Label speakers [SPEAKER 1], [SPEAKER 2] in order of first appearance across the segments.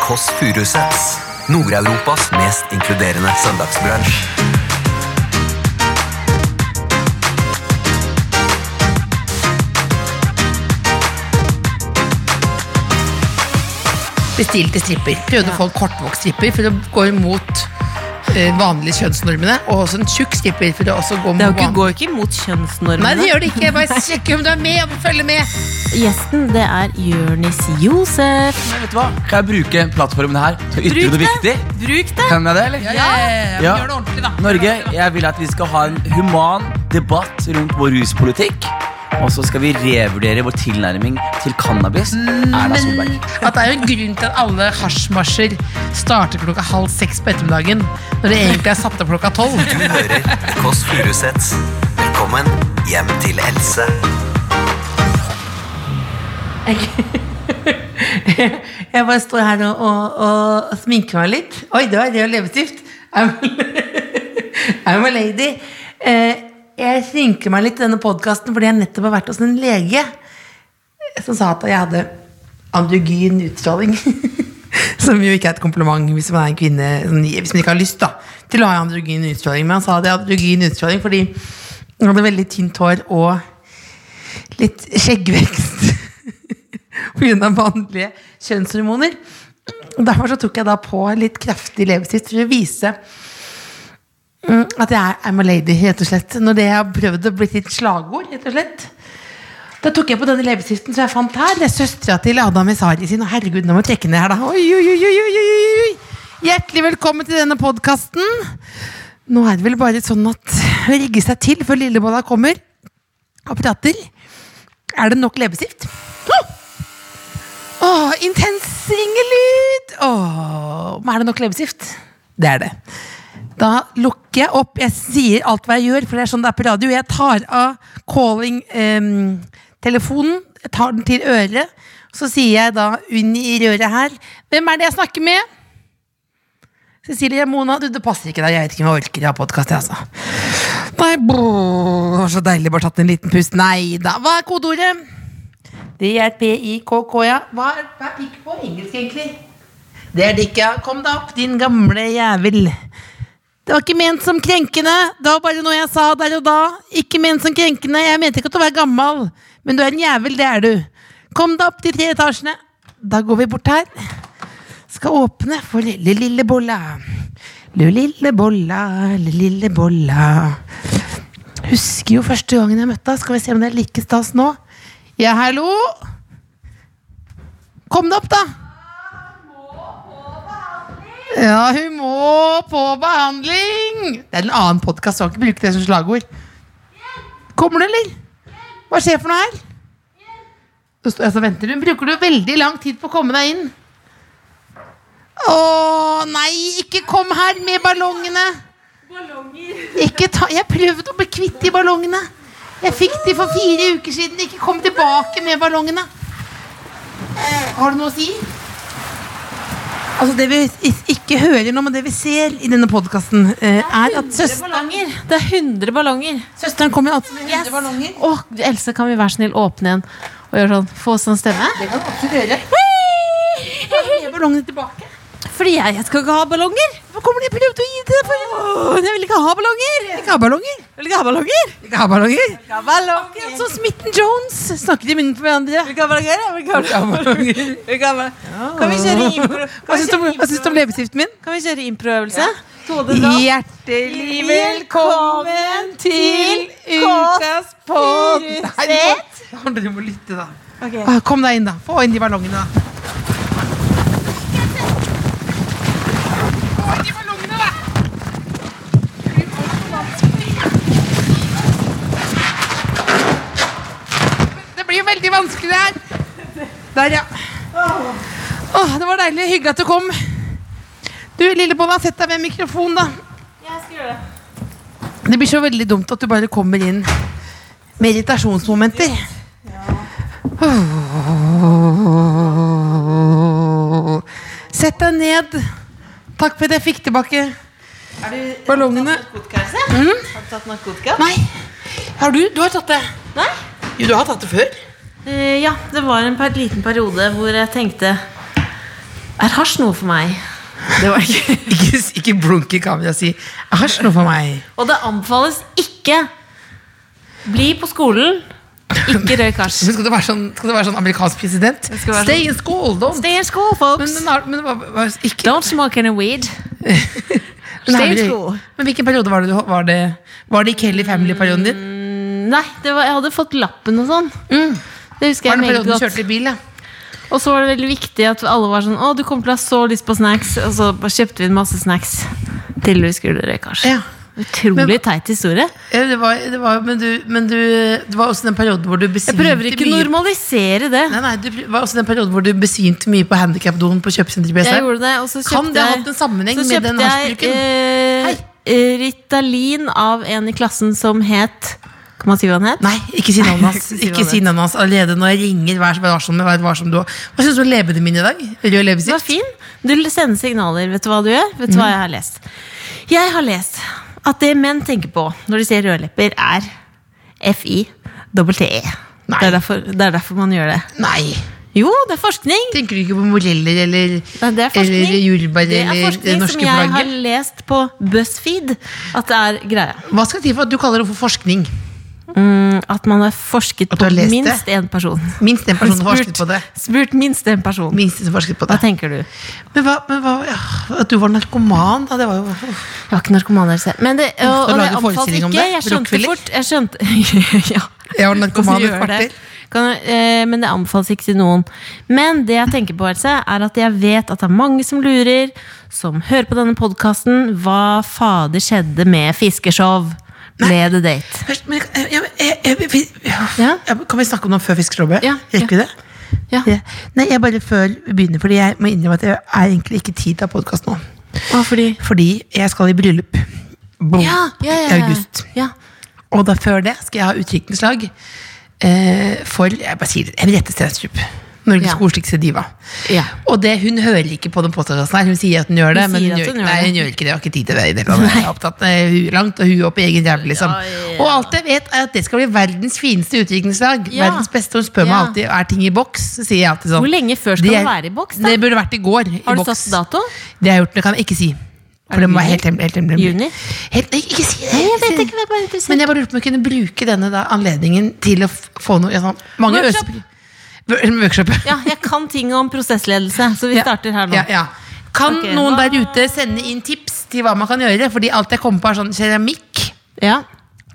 [SPEAKER 1] Kåss Furuseths. Nord-Europas mest inkluderende søndagsbransj.
[SPEAKER 2] Bestilte stripper. Prøvde å få en kortvokst stripper for å gå imot eh, vanlige kjønnsnormene. Og også en tjukk stripper for å også gå
[SPEAKER 3] Det
[SPEAKER 2] mot
[SPEAKER 3] er jo ikke,
[SPEAKER 2] vanlige
[SPEAKER 3] går jo ikke imot kjønnsnormene.
[SPEAKER 2] Nei, det gjør det ikke. Bare sjekk om du er med og følger med.
[SPEAKER 3] Gjesten det er Jonis Josef.
[SPEAKER 4] Men vet du hva? Kan jeg bruke plattformen her til å ytre
[SPEAKER 3] Bruk
[SPEAKER 4] noe
[SPEAKER 3] det.
[SPEAKER 4] viktig?
[SPEAKER 3] Bruk det!
[SPEAKER 4] Kan jeg det, eller?
[SPEAKER 2] Men
[SPEAKER 4] Ja.
[SPEAKER 2] Gjør det ordentlig, da.
[SPEAKER 4] Norge, jeg vil at vi skal ha en human debatt rundt vår ruspolitikk. Og så skal vi revurdere vår tilnærming til cannabis. Erna Solberg.
[SPEAKER 2] At det er jo en grunn til at alle hasjmarsjer starter klokka halv seks på ettermiddagen. Når det egentlig er satt opp klokka tolv.
[SPEAKER 1] Du hører The Kåss Furuseths. Velkommen hjem til Else.
[SPEAKER 2] Jeg bare står her og, og, og sminker meg litt. Oi, det var rød leppestift. I'm, I'm a lady. Eh, jeg sminker meg litt i denne podkasten fordi jeg nettopp har vært hos en lege som sa at jeg hadde androgyn utstråling. Som jo ikke er et kompliment hvis man er en kvinne sånn, Hvis man ikke har lyst da til å ha androgyn utstråling. Men han sa det er androgyn utstråling fordi hun hadde veldig tynt hår og litt skjeggvekst pga. vanlige kjønnshormoner. Og Derfor så tok jeg da på litt kraftig leppestift for å vise mm, at jeg er I'm a lady, rett og slett. Når det har prøvd å bli sitt slagord, rett og slett. Da tok jeg på denne leppestiften som jeg fant her. Det er søstera til Adam Esari sin. Og herregud, nå må jeg trekke ned her, da. Oi, oi, oi, oi, oi, oi, oi. Hjertelig velkommen til denne podkasten. Nå er det vel bare sånn at å rigge seg til før lillebolla kommer og prater. Er det nok leppestift? Åh! Åh, intens singelyd! Åh, men er det nok leppestift? Det er det. Da lukker jeg opp. Jeg sier alt hva jeg gjør, for det er sånn det er på radio. Jeg tar av calling-telefonen, jeg tar den til øret. Så sier jeg da inn i røret her Hvem er det jeg snakker med? Cecilie Mona, du, det passer ikke deg. Jeg vet ikke om jeg orker å ha podkast, jeg, altså. Nei, brrr, det var så deilig. Bare tatt en liten pust. Nei da. Hva er kodeordet? Det er P-I-K-K, ja. Hva er, hva er pikk på engelsk, egentlig? Det er det ikke. ja. Kom deg opp, din gamle jævel. Det var ikke ment som krenkende. Det var bare noe jeg sa der og da. Ikke ment som krenkende. Jeg mente ikke at du var gammel, men du er en jævel, det er du. Kom deg opp de tre etasjene. Da går vi bort her skal åpne for lille, lille bolla. Lille, lille bolla, lille, lille bolla. Husker jo første gangen jeg møtte deg. Skal vi se om det er like stas nå. Ja, hallo? Kom deg opp, da. Ja, hun må på behandling! Det er en annen podkast, skal ikke bruke det som slagord. Kommer du, eller? Hva skjer for noe her? Så står jeg og så venter hun. Bruker du veldig lang tid på å komme deg inn? Å nei, ikke kom her med ballongene! Ikke ta, jeg prøvde å bli kvitt de ballongene. Jeg fikk de for fire uker siden. Ikke kom tilbake med ballongene. Har du noe å si? Altså Det vi i- ikke hører nå, men det vi ser i denne podkasten, er at søsteren,
[SPEAKER 3] Det er 100 ballonger.
[SPEAKER 2] søsteren kommer altså med 100 ballonger.
[SPEAKER 3] Åh, Else, kan vi være snill åpne en og gjøre sånn? Få sånn stemme?
[SPEAKER 2] Det kan du absolutt gjøre. Gi ballongene tilbake.
[SPEAKER 3] Fordi jeg, jeg skal ikke ha ballonger!
[SPEAKER 2] Hvorfor kommer de og prøvde å gi til deg?
[SPEAKER 3] Åh, jeg vil ikke ha ballonger!
[SPEAKER 2] Ikke ha ballonger.
[SPEAKER 3] Jeg vil ikke ha ballonger!
[SPEAKER 2] Ikke ha ballonger.
[SPEAKER 3] Ballonger!
[SPEAKER 2] Så Smitten Jones snakker i munnen på hverandre.
[SPEAKER 3] Vil ikke ha ballonger? Jeg vil ikke ha ballonger. Vil ikke ha ballonger. Kan vi kjøre impro?
[SPEAKER 2] Hva
[SPEAKER 3] Kan vi
[SPEAKER 2] syns du om,
[SPEAKER 3] kjøre
[SPEAKER 2] hva syns du om
[SPEAKER 3] impro-
[SPEAKER 2] leppestiften min?
[SPEAKER 3] Kan vi kjøre improøvelse?
[SPEAKER 2] Hjertelig velkommen til ukas pod... Nei, nå- nå handler det om å lytte, da. Ah, Kom deg inn, da. Få inn de ballongene, da. Få inn de ballongene, da. Det blir jo veldig vanskelig, det her. Der, ja. Åh, det var deilig. Hyggelig at du kom. Du, Lillebolla, sett deg ved mikrofonen, da. Det blir så veldig dumt at du bare kommer inn med irritasjonsmomenter. Åh. Sett deg ned. Takk for at jeg fikk tilbake ballongene.
[SPEAKER 3] Har du tatt narkotika?
[SPEAKER 2] Nei. Har du? Du har tatt det?
[SPEAKER 3] Nei.
[SPEAKER 2] Jo, du har tatt det før.
[SPEAKER 3] Eh, ja, det var en per liten periode hvor jeg tenkte Er hasj noe for meg? Det var det ikke.
[SPEAKER 2] Ikke, ikke blunke, kan vi da si. Jeg har ikke noe for meg.
[SPEAKER 3] Og det anbefales ikke. Bli på skolen. Ikke røyk hasj.
[SPEAKER 2] Men skal du være sånn, skal du være sånn amerikansk president?
[SPEAKER 3] skal være sånn-
[SPEAKER 2] Stay in school, don't
[SPEAKER 3] Stay in school, folks.
[SPEAKER 2] Men, men, har- men, hva- hva- ikke,
[SPEAKER 3] Don't smoke any weed.
[SPEAKER 2] men, har
[SPEAKER 3] stay in
[SPEAKER 2] vi-
[SPEAKER 3] school.
[SPEAKER 2] men hvilken periode var det du var det, var det i Kelly Family-perioden
[SPEAKER 3] Mm,
[SPEAKER 2] din?
[SPEAKER 3] Nei, det var, jeg hadde fått lappen og sånn. Det husker
[SPEAKER 2] Var det
[SPEAKER 3] jeg meget
[SPEAKER 2] perioden du
[SPEAKER 3] godt.
[SPEAKER 2] kjørte i bil? Ja?
[SPEAKER 3] Og så var det veldig viktig at alle var sånn Å, du kommer til å ha så lyst på snacks. Og så bare kjøpte vi en masse snacks til vi skulle røyke hasj.
[SPEAKER 2] Ja.
[SPEAKER 3] Utrolig teit historie.
[SPEAKER 2] Ja, det var, det var, men du, men du, det var også den perioden hvor du
[SPEAKER 3] Jeg
[SPEAKER 2] besvimte
[SPEAKER 3] prøver ikke å
[SPEAKER 2] mye.
[SPEAKER 3] normalisere det.
[SPEAKER 2] Nei, nei, du pr- var også den perioden hvor du besvimte mye på handikapdoen på kjøpesenteret i
[SPEAKER 3] Jeg
[SPEAKER 2] BSR.
[SPEAKER 3] gjorde det, og så kjøpte
[SPEAKER 2] Kan det ha
[SPEAKER 3] jeg-
[SPEAKER 2] hatt en sammenheng
[SPEAKER 3] så
[SPEAKER 2] med den
[SPEAKER 3] kjøpte jeg,
[SPEAKER 2] hasjbruken?
[SPEAKER 3] Eh, Ritalin av en i klassen som het Kan man si hva han het?
[SPEAKER 2] Nei, ikke si navnet hans.
[SPEAKER 3] Ikke si
[SPEAKER 2] Ikke si navnet hans allerede når jeg ringer. Vær så varsom. Vær varsom du. også. Hva syns du om leppene mine i dag? Rød
[SPEAKER 3] Du er
[SPEAKER 2] leppestift?
[SPEAKER 3] fin. Du sender signaler. Vet du hva du gjør? Vet du hva jeg har lest? Jeg har lest at det menn tenker på når de ser rødlepper, er
[SPEAKER 2] Nei.
[SPEAKER 3] FI-WTE. E. Det, er derfor- det er derfor man gjør det.
[SPEAKER 2] Nei.
[SPEAKER 3] Jo, det er forskning!
[SPEAKER 2] Tenker du ikke på moreller eller,
[SPEAKER 3] Nei, det er forskning.
[SPEAKER 2] eller jordbær
[SPEAKER 3] det er
[SPEAKER 2] eller det
[SPEAKER 3] forskning som
[SPEAKER 2] norske
[SPEAKER 3] jeg har
[SPEAKER 2] flagget?
[SPEAKER 3] lest på BuzzFeed at det er greia.
[SPEAKER 2] Hva skal til for at du kaller det for forskning?
[SPEAKER 3] At man har forsket
[SPEAKER 2] At du
[SPEAKER 3] på
[SPEAKER 2] har lest det?
[SPEAKER 3] minst én person.
[SPEAKER 2] Minst én person har forsket på det.
[SPEAKER 3] Spurt minst én person.
[SPEAKER 2] Minst en som forsket på
[SPEAKER 3] Hva
[SPEAKER 2] det.
[SPEAKER 3] tenker du?
[SPEAKER 2] Men, hva, men hva, ja, at du var narkoman, da, det var jo
[SPEAKER 3] Jeg var ikke narkoman der selv. Men det,
[SPEAKER 2] Skal
[SPEAKER 3] og, og
[SPEAKER 2] du
[SPEAKER 3] det
[SPEAKER 2] lage en
[SPEAKER 3] anbefales
[SPEAKER 2] forestilling om
[SPEAKER 3] ikke.
[SPEAKER 2] det?
[SPEAKER 3] Jeg skjønte
[SPEAKER 2] Rockefeller?
[SPEAKER 3] fort jeg skjønte, ja.
[SPEAKER 2] Jeg var narkoman i et
[SPEAKER 3] Gjør
[SPEAKER 2] kvarter.
[SPEAKER 3] det. Kan, eh, men det anbefales ikke til noen. Men det jeg tenker på, Else, er at jeg vet at det er mange som lurer, som hører på denne podkasten. Hva fader skjedde med fiskeshow? Ble det date?
[SPEAKER 2] Først, men, eh, jeg, jeg, jeg, jeg,
[SPEAKER 3] Ja?
[SPEAKER 2] jeg- Kan vi snakke om noe før fiskeslobbet?
[SPEAKER 3] Ja,
[SPEAKER 2] Rekker vi det?
[SPEAKER 3] Ja.
[SPEAKER 2] Ja. Nei, jeg bare før vi begynner, fordi jeg må innrømme at jeg er egentlig ikke tid til podkast nå.
[SPEAKER 3] Å, fordi
[SPEAKER 2] Fordi jeg skal i bryllup Boom.
[SPEAKER 3] ja, ja, ja, ja.
[SPEAKER 2] i august.
[SPEAKER 3] Ja.
[SPEAKER 2] Og da før det skal jeg ha utdrikningslag eh, for jeg bare sier det, Henriette Stenstrup. Norges
[SPEAKER 3] Ja.
[SPEAKER 2] koseligste diva.
[SPEAKER 3] Ja.
[SPEAKER 2] Og det, hun hører ikke på den podkasten her. Hun sier at hun gjør det,
[SPEAKER 3] Hun
[SPEAKER 2] men
[SPEAKER 3] sier
[SPEAKER 2] hun
[SPEAKER 3] at
[SPEAKER 2] gjør,
[SPEAKER 3] hun
[SPEAKER 2] ikke-
[SPEAKER 3] gjør
[SPEAKER 2] nei,
[SPEAKER 3] det.
[SPEAKER 2] hun gjør ikke det. Jeg har ikke tid til det i det hele tatt. Jeg er opptatt eh, hu- langt og huet opp i egen ræve, liksom. Og alt jeg vet, er at det skal bli verdens fineste utdrikningslag.
[SPEAKER 3] Ja.
[SPEAKER 2] Verdens beste. Hun spør meg
[SPEAKER 3] Ja.
[SPEAKER 2] alltid er ting i boks. Så sier jeg alltid sånn
[SPEAKER 3] Hvor lenge før skal
[SPEAKER 2] det
[SPEAKER 3] man
[SPEAKER 2] er-
[SPEAKER 3] være i boks, da?
[SPEAKER 2] Det burde vært i går.
[SPEAKER 3] Har
[SPEAKER 2] i
[SPEAKER 3] du
[SPEAKER 2] boks.
[SPEAKER 3] satt dato?
[SPEAKER 2] Det jeg har gjort, det kan jeg ikke si. For det
[SPEAKER 3] det
[SPEAKER 2] må være
[SPEAKER 3] juni?
[SPEAKER 2] helt hemmelig. Helt hemmelig.
[SPEAKER 3] Juni?
[SPEAKER 2] Helt, nei, ikke si det!
[SPEAKER 3] Nei, jeg
[SPEAKER 2] si
[SPEAKER 3] vet
[SPEAKER 2] det.
[SPEAKER 3] ikke, jeg er bare interessert.
[SPEAKER 2] Men jeg bare lurte på om jeg kunne bruke denne da, anledningen til å f- få noe ja, sånn, mange
[SPEAKER 3] Workshop.
[SPEAKER 2] øse- Wor- Workshop.
[SPEAKER 3] Ja, jeg kan ting om prosessledelse, så vi starter her nå.
[SPEAKER 2] Ja, ja. Kan
[SPEAKER 3] Ok.
[SPEAKER 2] noen der ute sende inn tips til hva man kan gjøre? Fordi alt jeg kommer på, er sånn keramikk.
[SPEAKER 3] Ja.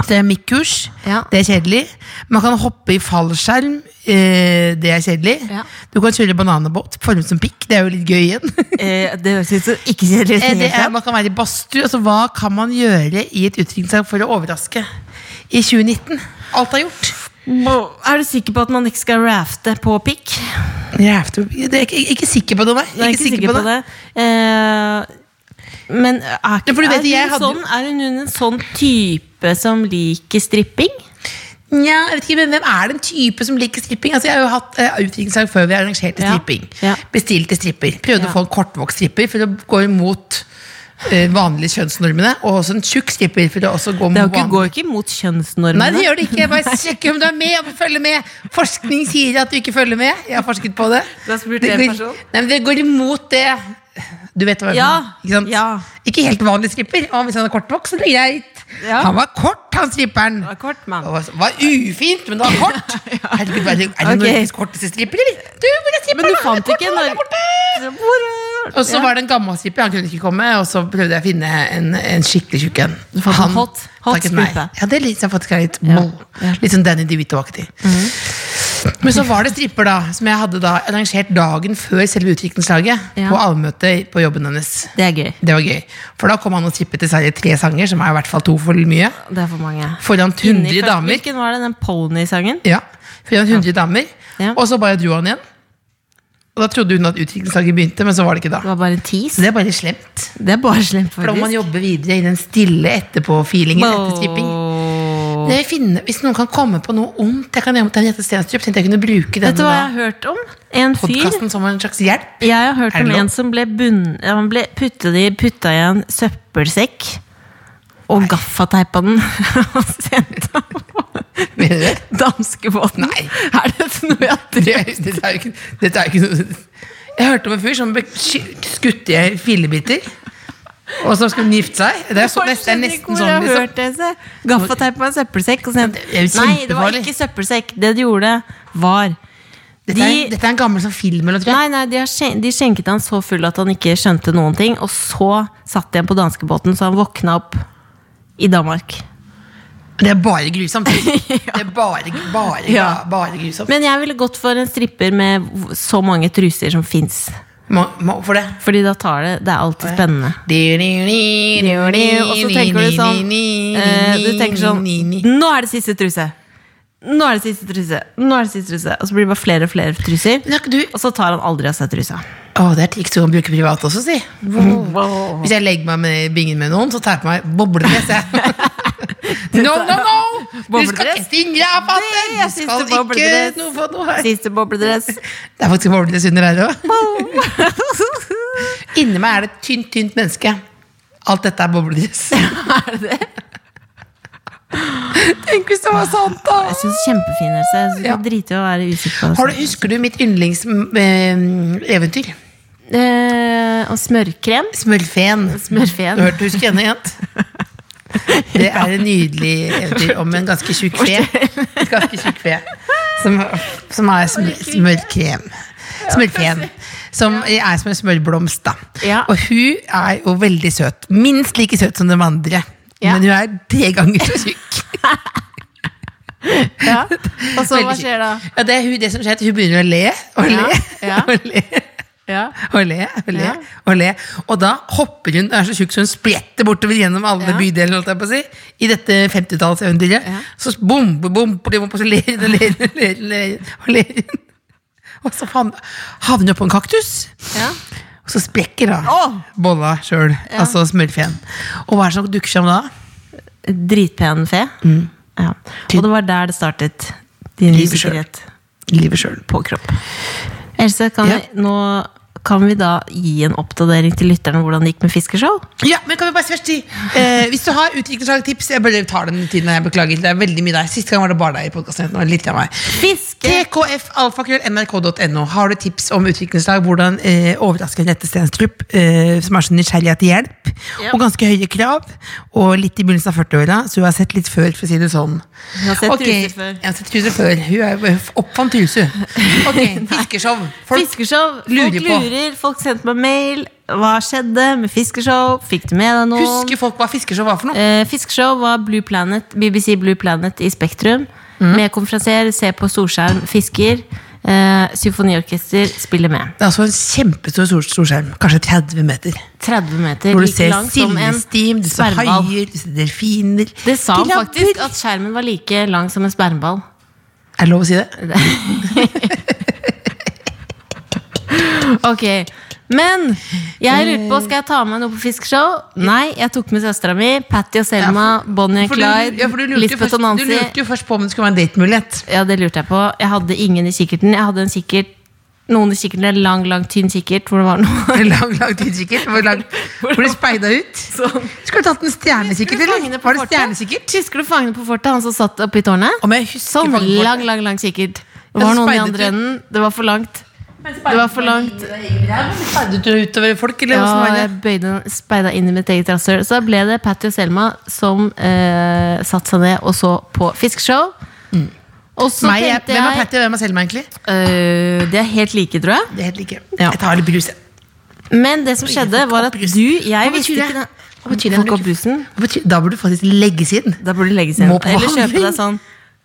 [SPEAKER 2] Keramikkurs.
[SPEAKER 3] Ja.
[SPEAKER 2] Det er kjedelig. Man kan hoppe i fallskjerm. Eh, det er kjedelig.
[SPEAKER 3] Ja.
[SPEAKER 2] Du kan kjøre bananabåt. Formet som pikk. Det er jo litt gøy igjen.
[SPEAKER 3] Eh, det høres ut som ikke kjedelig. ut i
[SPEAKER 2] Eh,
[SPEAKER 3] det
[SPEAKER 2] det
[SPEAKER 3] hele
[SPEAKER 2] er,
[SPEAKER 3] tatt.
[SPEAKER 2] man kan være i badstue. Altså, hva kan man gjøre i et utdrikningslag for å overraske i 2019? Alt er gjort.
[SPEAKER 3] Er du sikker på at man ikke skal rafte på pikk?
[SPEAKER 2] Jeg er ikke, jeg er ikke, ikke sikker på det, nei.
[SPEAKER 3] Jeg er ikke sikker på det. Eh, men er,
[SPEAKER 2] Ja,
[SPEAKER 3] ikke,
[SPEAKER 2] for du vet,
[SPEAKER 3] er, hun
[SPEAKER 2] jeg hadde jo-
[SPEAKER 3] sånn, er hun en sånn type som liker stripping?
[SPEAKER 2] Nja, jeg vet ikke, men Hvem er den type som liker stripping? Altså, jeg har jo hatt eh, utdrikningslag før vi arrangerte
[SPEAKER 3] Ja.
[SPEAKER 2] stripping.
[SPEAKER 3] Ja.
[SPEAKER 2] Bestilte stripper. Prøvde
[SPEAKER 3] Ja.
[SPEAKER 2] å få en kortvokst stripper for å gå imot eh, vanlige kjønnsnormene. Og også en tjukk stripper for å også gå
[SPEAKER 3] Det
[SPEAKER 2] mot
[SPEAKER 3] er jo ikke,
[SPEAKER 2] vanlige
[SPEAKER 3] går jo ikke imot kjønnsnormene.
[SPEAKER 2] Nei, det gjør det ikke. Jeg bare sjekker om du er med. om du følger med. Forskning sier at du ikke følger med. Jeg har forsket på det.
[SPEAKER 3] Du har spurt
[SPEAKER 2] Det
[SPEAKER 3] en
[SPEAKER 2] går-
[SPEAKER 3] person?
[SPEAKER 2] Nei, men Det går imot det. Du vet hva jeg
[SPEAKER 3] Ja,
[SPEAKER 2] mener, Ikke, sant?
[SPEAKER 3] ja.
[SPEAKER 2] ikke helt vanlig stripper. Og hvis han er kortvokst, så er det greit.
[SPEAKER 3] Ja.
[SPEAKER 2] Han var kort, han stripperen.
[SPEAKER 3] var kort, mann.
[SPEAKER 2] Og var- var ufint, men det var kort. Herregud, er det, er det
[SPEAKER 3] Ok.
[SPEAKER 2] Norges korteste stripper, eller? Du, hvor er stripperen?
[SPEAKER 3] Men du
[SPEAKER 2] da?
[SPEAKER 3] fant
[SPEAKER 2] Det er
[SPEAKER 3] ikke
[SPEAKER 2] korte, det er
[SPEAKER 3] en Norge-
[SPEAKER 2] korte.
[SPEAKER 3] Hvor-
[SPEAKER 2] Og så
[SPEAKER 3] Ja.
[SPEAKER 2] var det en gammel stripper, han kunne ikke komme. Og så prøvde jeg å finne en, en skikkelig tjukk en.
[SPEAKER 3] Du fant en
[SPEAKER 2] Han
[SPEAKER 3] hot- hot
[SPEAKER 2] takket nei.
[SPEAKER 3] stripe.
[SPEAKER 2] Ja, det er litt, så jeg faktisk er litt,
[SPEAKER 3] Ja,
[SPEAKER 2] moll.
[SPEAKER 3] ja. Mhm.
[SPEAKER 2] litt sånn Danny DeVito-aktig. Men så var det stripper da som jeg hadde da arrangert dagen før selve utviklingslaget.
[SPEAKER 3] Ja.
[SPEAKER 2] På allmøtet på jobben hennes.
[SPEAKER 3] Det er gøy.
[SPEAKER 2] Det var gøy. For da kom han og strippet til Sverige tre sanger, som er i hvert fall to for mye.
[SPEAKER 3] Det er for mange.
[SPEAKER 2] Foran
[SPEAKER 3] Inni
[SPEAKER 2] 100
[SPEAKER 3] først-
[SPEAKER 2] damer.
[SPEAKER 3] Hvilken var det, den pony-sangen?
[SPEAKER 2] Ja, foran 100 damer.
[SPEAKER 3] Ja.
[SPEAKER 2] Og så bare dro han igjen. Og da trodde hun at utviklingslaget begynte, men så var det ikke
[SPEAKER 3] Det
[SPEAKER 2] da.
[SPEAKER 3] var bare en tease.
[SPEAKER 2] Så det er bare slemt.
[SPEAKER 3] Det er bare slemt,
[SPEAKER 2] For da må man
[SPEAKER 3] faktisk.
[SPEAKER 2] jobbe videre i den stille etterpå-feelingen etter stripping.
[SPEAKER 3] Åh.
[SPEAKER 2] Det jeg finner, hvis noen kan komme på noe ondt jeg kan gjøre mot Henriette Stenstrup, tenkte jeg kunne bruke
[SPEAKER 3] Vet du
[SPEAKER 2] denne
[SPEAKER 3] hva
[SPEAKER 2] da,
[SPEAKER 3] jeg har hørt om? En fyr
[SPEAKER 2] podkasten som en slags hjelp.
[SPEAKER 3] Jeg har hørt
[SPEAKER 2] Er det
[SPEAKER 3] om
[SPEAKER 2] lov?
[SPEAKER 3] en som ble, bunn, ja, han ble puttet i, putta i en søppelsekk og gaffateipa den og sendte den på
[SPEAKER 2] Mener du det?
[SPEAKER 3] danskebåten.
[SPEAKER 2] Nei.
[SPEAKER 3] Er dette noe jeg har
[SPEAKER 2] Det
[SPEAKER 3] drevet
[SPEAKER 2] er- Dette er jo ikke, dette er jo ikke noe Jeg hørte om en fyr som ble sky- skutt i fillebiter. Og som skulle gifte seg. Det er, så, det er nesten
[SPEAKER 3] Hvor har
[SPEAKER 2] sånn,
[SPEAKER 3] jeg
[SPEAKER 2] liksom.
[SPEAKER 3] hørt det? se? Gaffateip på en søppelsekk. Og sendt.
[SPEAKER 2] Det er jo
[SPEAKER 3] Nei, det var
[SPEAKER 2] kjempefarlig.
[SPEAKER 3] ikke søppelsekk. Det de gjorde, var
[SPEAKER 2] Dette er,
[SPEAKER 3] de,
[SPEAKER 2] dette er en gammel sånn film, eller tror jeg.
[SPEAKER 3] Nei, nei, de, har skjen- de skjenket han så full at han ikke skjønte noen ting. Og så satt de igjen på danskebåten, så han våkna opp i Danmark.
[SPEAKER 2] Det er bare grusomt. Det er bare, bare,
[SPEAKER 3] Ja.
[SPEAKER 2] bare grusomt.
[SPEAKER 3] Men jeg ville gått for en stripper med v- så mange truser som fins.
[SPEAKER 2] Må, må, for det.
[SPEAKER 3] Fordi da tar det Det er alltid spennende. Og så tenker du sånn eh, Du tenker sånn Nå er det siste truse! Nå er det siste truse! Nå er det siste truse Og så blir det bare flere og flere truser.
[SPEAKER 2] Men har ikke du
[SPEAKER 3] Og så tar han aldri av seg trusa.
[SPEAKER 2] Å, det er triks du kan bruke privat også, si. Hvis jeg legger meg med bingen med noen, så tar jeg på meg bobledress. jeg. no, no, no! Du skal ikke
[SPEAKER 3] Bobledress.
[SPEAKER 2] stinge av patten!
[SPEAKER 3] Det
[SPEAKER 2] Du
[SPEAKER 3] er
[SPEAKER 2] skal
[SPEAKER 3] siste
[SPEAKER 2] ikke
[SPEAKER 3] bobledress.
[SPEAKER 2] noe få noe her.
[SPEAKER 3] Siste bobledress.
[SPEAKER 2] Det er faktisk bobledress under her òg. Inni meg er det et tynt, tynt menneske. Alt dette er bobledress.
[SPEAKER 3] er det det?
[SPEAKER 2] Tenk hvis det var sant,
[SPEAKER 3] Jeg
[SPEAKER 2] da!
[SPEAKER 3] syns kjempefin helse. Jeg synes
[SPEAKER 2] Ja.
[SPEAKER 3] det er Drite i å være usikker på det.
[SPEAKER 2] Har du, husker du mitt yndlingseventyr?
[SPEAKER 3] Eh, og smørkrem.
[SPEAKER 2] Smølfen.
[SPEAKER 3] Smørfeen.
[SPEAKER 2] Du hørte husk henne, jent? Det er et nydelig eventyr om en ganske tjukk fe. Et ganske tjukk fe som, som er smør, smørkrem. Smørfeen. Som er som en smørblomst, da.
[SPEAKER 3] Ja.
[SPEAKER 2] Og hun er jo veldig søt. Minst like søt som de andre.
[SPEAKER 3] Ja.
[SPEAKER 2] Men hun er tre ganger så tjukk.
[SPEAKER 3] Ja. Og så hva
[SPEAKER 2] Veldig
[SPEAKER 3] skjer da?
[SPEAKER 2] tjukk. Ja, det er hun, det som skjer, at hun begynner å le og
[SPEAKER 3] Ja,
[SPEAKER 2] le
[SPEAKER 3] ja.
[SPEAKER 2] og le.
[SPEAKER 3] Ja.
[SPEAKER 2] Og le, og le,
[SPEAKER 3] Ja.
[SPEAKER 2] og le. Og da hopper hun, er så tjukk så hun spretter bortover gjennom alle
[SPEAKER 3] Ja.
[SPEAKER 2] bydelene, holdt jeg på å si, i dette 50-tallseventyret.
[SPEAKER 3] Ja.
[SPEAKER 2] Så bom, bom, bom, bom, og så ler hun og ler hun, ler hun, ler hun, og ler hun. Og så faen, havner hun på en kaktus.
[SPEAKER 3] ja.
[SPEAKER 2] Og så sprekker da
[SPEAKER 3] Åh!
[SPEAKER 2] bolla sjøl, altså smørfeen. Og hva er det som dukker seg om da?
[SPEAKER 3] Dritpen fe. Ja. Og det var der det startet. Din
[SPEAKER 2] Livet selv.
[SPEAKER 3] usikkerhet
[SPEAKER 2] Livet sjøl.
[SPEAKER 3] på kropp. Else, kan,
[SPEAKER 2] Ja.
[SPEAKER 3] vi, nå, kan vi da gi en oppdatering til lytterne om hvordan det gikk med fiskeshow?
[SPEAKER 2] Ja, men kan vi bare først si eh, Hvis du har utviklingslagtips Jeg bare tar den tiden jeg beklager. Det er veldig mye deg. Sist gang var det bare deg i podkasten. Nå er det litt av meg.
[SPEAKER 3] Fiske!
[SPEAKER 2] tkfalfakrøll.nrk.no. Har du tips om utviklingslag, hvordan eh, overraske Henriette Stenstrup, eh, som er så nysgjerrig etter hjelp,
[SPEAKER 3] Ja.
[SPEAKER 2] og ganske høye krav, og litt i begynnelsen av 40-åra, så hun har sett litt før, for å si det sånn.
[SPEAKER 3] har sett
[SPEAKER 2] Ok,
[SPEAKER 3] truser før.
[SPEAKER 2] Jeg har sett truser før. Hun er, hun oppfant truse. Ok, fiskeshow. Folk
[SPEAKER 3] Fiskeshow! Folk
[SPEAKER 2] lurer
[SPEAKER 3] lurer,
[SPEAKER 2] på.
[SPEAKER 3] folk sendte meg mail. Hva skjedde med fiskeshow? Fikk du med deg noe?
[SPEAKER 2] Husker folk hva fiskeshow var for noe?
[SPEAKER 3] Eh, Fiskeshow var Blue Planet, BBC Blue Planet i Spektrum. Med konferansier, se på storskjerm, fisker. Eh, symfoniorkester spiller med.
[SPEAKER 2] Det er altså en kjempestor stor- storskjerm, kanskje 30 meter,
[SPEAKER 3] 30 meter,
[SPEAKER 2] hvor du
[SPEAKER 3] like
[SPEAKER 2] ser
[SPEAKER 3] lang som en
[SPEAKER 2] sildestim, du ser
[SPEAKER 3] spermball.
[SPEAKER 2] haier, du ser delfiner
[SPEAKER 3] Det sa han
[SPEAKER 2] krabber.
[SPEAKER 3] faktisk, at skjermen var like lang som en spermball.
[SPEAKER 2] Er det lov å si det?
[SPEAKER 3] Ok, men jeg lurte på, skal jeg ta med noe på fiskeshow? Nei, jeg tok med søstera mi, Patty og Selma, Bonnie og
[SPEAKER 2] For du-
[SPEAKER 3] Clyde,
[SPEAKER 2] ja, for du lurte jo
[SPEAKER 3] Lisbeth og
[SPEAKER 2] først- Du
[SPEAKER 3] Nancy.
[SPEAKER 2] lurte jo først på om det skulle være en datemulighet.
[SPEAKER 3] Ja, det lurte jeg på. Jeg hadde ingen i kikkerten. Jeg hadde en kikkert, noen i kikkerten, en lang, lang, tynn kikkert, hvor det var noe
[SPEAKER 2] En Lang, lang tid sikkert. Hvor, lang, hvor du speida ut. Skulle du tatt en stjernekikkert,
[SPEAKER 3] Husker du
[SPEAKER 2] eller?
[SPEAKER 3] fangene på
[SPEAKER 2] Var det
[SPEAKER 3] fortet?
[SPEAKER 2] stjernekikkert?
[SPEAKER 3] Husker du fangen på fortet, han som satt oppe i tårnet?
[SPEAKER 2] Om jeg husker
[SPEAKER 3] sånn,
[SPEAKER 2] fangen på
[SPEAKER 3] lang, lang, lang kikkert. Det
[SPEAKER 2] Ja,
[SPEAKER 3] var
[SPEAKER 2] så
[SPEAKER 3] noen i
[SPEAKER 2] speidet du.
[SPEAKER 3] andre enden. Det var for langt. Det var for langt.
[SPEAKER 2] Speidet du utover folk, eller?
[SPEAKER 3] Ja,
[SPEAKER 2] hvordan var
[SPEAKER 3] jeg
[SPEAKER 2] det?
[SPEAKER 3] bøyde, speida inn i mitt eget rasshøl. Så da ble det Patty og Selma som eh, satte seg ned og så på fiskeshow. Og så
[SPEAKER 2] Meg, jeg, hvem
[SPEAKER 3] tenkte
[SPEAKER 2] er
[SPEAKER 3] Mm. jeg
[SPEAKER 2] Patty, og hvem er Selma, egentlig?
[SPEAKER 3] eh, Det er helt like, tror jeg.
[SPEAKER 2] Det er helt like.
[SPEAKER 3] Ja.
[SPEAKER 2] Jeg tar litt brus, jeg.
[SPEAKER 3] Men det som skjedde, var at du Jeg
[SPEAKER 2] Hva
[SPEAKER 3] visste
[SPEAKER 2] betyr det?
[SPEAKER 3] ikke
[SPEAKER 2] Hva betyr det?
[SPEAKER 3] Fuck opp brusen.
[SPEAKER 2] Hva betyr- Da burde du faktisk legges inn.
[SPEAKER 3] Da burde du legge seg inn.
[SPEAKER 2] Må på
[SPEAKER 3] Eller kjøpe
[SPEAKER 2] behandling.
[SPEAKER 3] deg sånn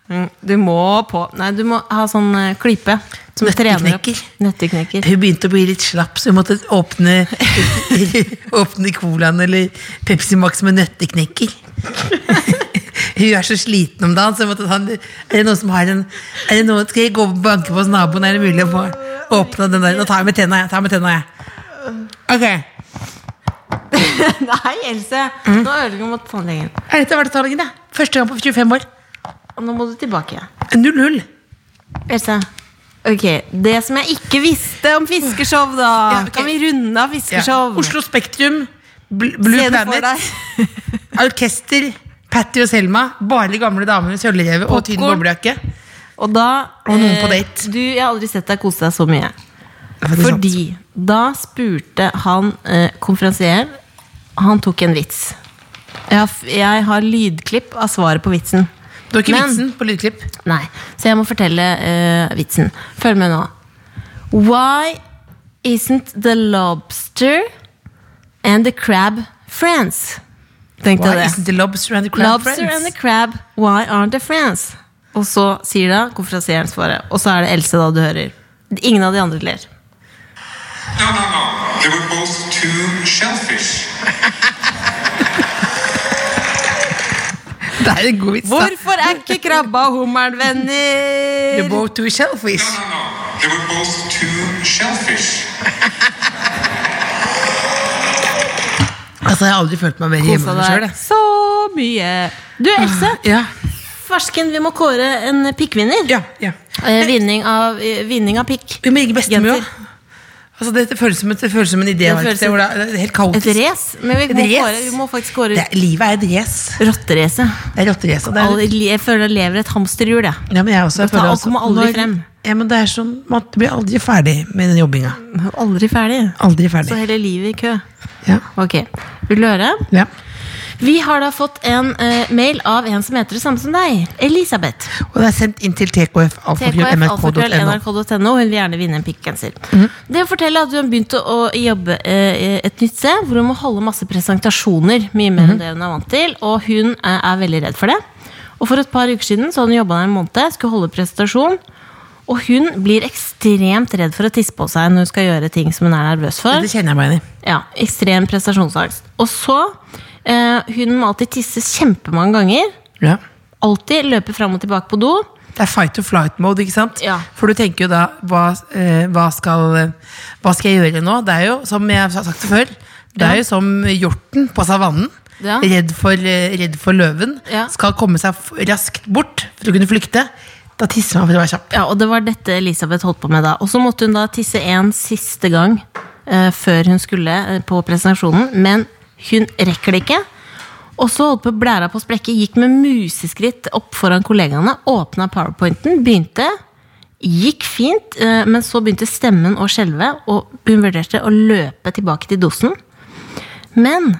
[SPEAKER 3] Mm, Du må på Nei, du må ha sånn eh, klype. Som trener opp.
[SPEAKER 2] Nøtteknekker.
[SPEAKER 3] Nøtteknekker.
[SPEAKER 2] Hun begynte å bli litt slapp, så hun måtte åpne, åpne colaen eller Pepsi Max med nøtteknekker. Hun er så sliten om dagen, så hun måtte ta en Er det noen som har en er det noen, Skal jeg gå og banke på hos naboen, er det mulig å få åpna den der? Nå tar jeg med tenna, jeg. Tar jeg med tenna, jeg. Ok.
[SPEAKER 3] Nei, Else! Nå ødelegger du mot tannlegen.
[SPEAKER 2] Er dette hverdagsdagen, da? Første gang på 25 år.
[SPEAKER 3] Og Nå må du tilbake.
[SPEAKER 2] 0-0.
[SPEAKER 3] Else. Ok, Det som jeg ikke visste om fiskeshow, da.
[SPEAKER 2] Ja, ok.
[SPEAKER 3] Kan vi runde av fiskeshow?
[SPEAKER 2] Oslo Spektrum, Bl- Blue
[SPEAKER 3] Se det for
[SPEAKER 2] Planet,
[SPEAKER 3] deg.
[SPEAKER 2] orkester, Patty og Selma. Bare de gamle damene, sølvreve og tynn
[SPEAKER 3] Popcorn.
[SPEAKER 2] boblejakke.
[SPEAKER 3] Og da
[SPEAKER 2] Og noen på
[SPEAKER 3] eh,
[SPEAKER 2] date.
[SPEAKER 3] Du, Jeg har aldri sett deg kose deg så mye.
[SPEAKER 2] Det er faktisk sant.
[SPEAKER 3] Fordi Da spurte han eh, konferansieren. Han tok en vits. Jeg har, f- jeg har lydklipp av svaret på vitsen.
[SPEAKER 2] Du har ikke
[SPEAKER 3] Men-
[SPEAKER 2] vitsen på lydklipp?
[SPEAKER 3] Nei, så jeg må fortelle eh, vitsen. Følg med nå. Why isn't the lobster and the crab friends? Tenkte
[SPEAKER 2] Why
[SPEAKER 3] jeg
[SPEAKER 2] isn't
[SPEAKER 3] det.
[SPEAKER 2] the lobster and the crab
[SPEAKER 3] Lobster
[SPEAKER 2] friends?
[SPEAKER 3] and the crab, why aren't they friends? Og så sier da konferansieren svaret. Og så er det Else da du hører. Ingen av de andre ler.
[SPEAKER 5] No, no, no. They were both two shellfish.
[SPEAKER 2] Det er en god vits, da.
[SPEAKER 3] Hvorfor er ikke krabba og hummeren venner?
[SPEAKER 2] You're both two shellfish.
[SPEAKER 5] No, no. They were both two shellfish.
[SPEAKER 2] Altså, jeg har aldri følt meg mer hjemme
[SPEAKER 3] Kosa
[SPEAKER 2] med meg sjøl.
[SPEAKER 3] deg så mye. Du, Else.
[SPEAKER 2] Ja,
[SPEAKER 3] Farsken, vi må kåre en pikkvinner.
[SPEAKER 2] ja, ja.
[SPEAKER 3] Eh, vinning, av, eh, vinning av pikk.
[SPEAKER 2] Vi må ligge bestemor.
[SPEAKER 3] Jenter.
[SPEAKER 2] jo. Altså, det føles som, et- det føles som en idé.
[SPEAKER 3] Det
[SPEAKER 2] Det,
[SPEAKER 3] føles
[SPEAKER 2] det,
[SPEAKER 3] som-
[SPEAKER 2] er helt kaotisk.
[SPEAKER 3] Et race. Men vi
[SPEAKER 2] Et
[SPEAKER 3] må,
[SPEAKER 2] race?
[SPEAKER 3] kåre, vi må faktisk kåre
[SPEAKER 2] Det er, livet er et race.
[SPEAKER 3] rotterace.
[SPEAKER 2] Det er rotterace. og det er-
[SPEAKER 3] Alle- Jeg føler jeg lever et hamsterhjul. Jeg.
[SPEAKER 2] Ja, men jeg også. Jeg
[SPEAKER 3] Dette
[SPEAKER 2] føler
[SPEAKER 3] alt
[SPEAKER 2] også-
[SPEAKER 3] kommer aldri
[SPEAKER 2] når-
[SPEAKER 3] frem.
[SPEAKER 2] Ja, men det er sånn, Man blir aldri ferdig med den jobbinga.
[SPEAKER 3] Jeg er Aldri ferdig.
[SPEAKER 2] Aldri
[SPEAKER 3] Så
[SPEAKER 2] ferdig.
[SPEAKER 3] hele livet i kø.
[SPEAKER 2] Ja.
[SPEAKER 3] Ok, Vil du høre?
[SPEAKER 2] ja.
[SPEAKER 3] Vi har da fått en eh, mail av en som heter det samme som deg. Elisabeth.
[SPEAKER 2] Og det er sendt inn til tkf.nrk.no.
[SPEAKER 3] tkf.nrk.no. Hun vil gjerne vinne en pikkgenser. Det forteller at hun har begynt å jobbe eh, et nytt sted, hvor hun må holde masse presentasjoner. Mye mer enn det hun er vant til, og hun er, er veldig redd for det. Og for et par uker siden så hadde hun jobba der en måned, skulle holde presentasjon. Og hun blir ekstremt redd for å tisse på seg når hun skal gjøre ting som hun er nervøs for.
[SPEAKER 2] Det kjenner jeg meg igjen i.
[SPEAKER 3] Ja, Ekstrem prestasjonsangst. Og så eh, Hun må alltid tisse kjempemange ganger.
[SPEAKER 2] Ja.
[SPEAKER 3] Alltid løpe fram og tilbake på do.
[SPEAKER 2] Det er fight or flight mode, ikke sant?
[SPEAKER 3] Ja.
[SPEAKER 2] For du tenker jo da, hva, eh, hva, skal, eh, hva skal jeg gjøre nå? Det er jo, som jeg har sagt det før, det er jo som hjorten på savannen.
[SPEAKER 3] Ja.
[SPEAKER 2] Redd, for, eh, redd for løven.
[SPEAKER 3] Ja.
[SPEAKER 2] Skal komme seg f- raskt bort for å kunne flykte. Da tisser man for å være kjapp.
[SPEAKER 3] Ja, og det var dette Elisabeth holdt på med da. Og så måtte hun da tisse en siste gang eh, før hun skulle eh, på presentasjonen, men hun rekker det ikke. Og så holdt på blæra på å sprekke, gikk med museskritt opp foran kollegaene, åpna powerpointen, begynte. Gikk fint, eh, men så begynte stemmen å skjelve, og hun vurderte å løpe tilbake til dosen. Men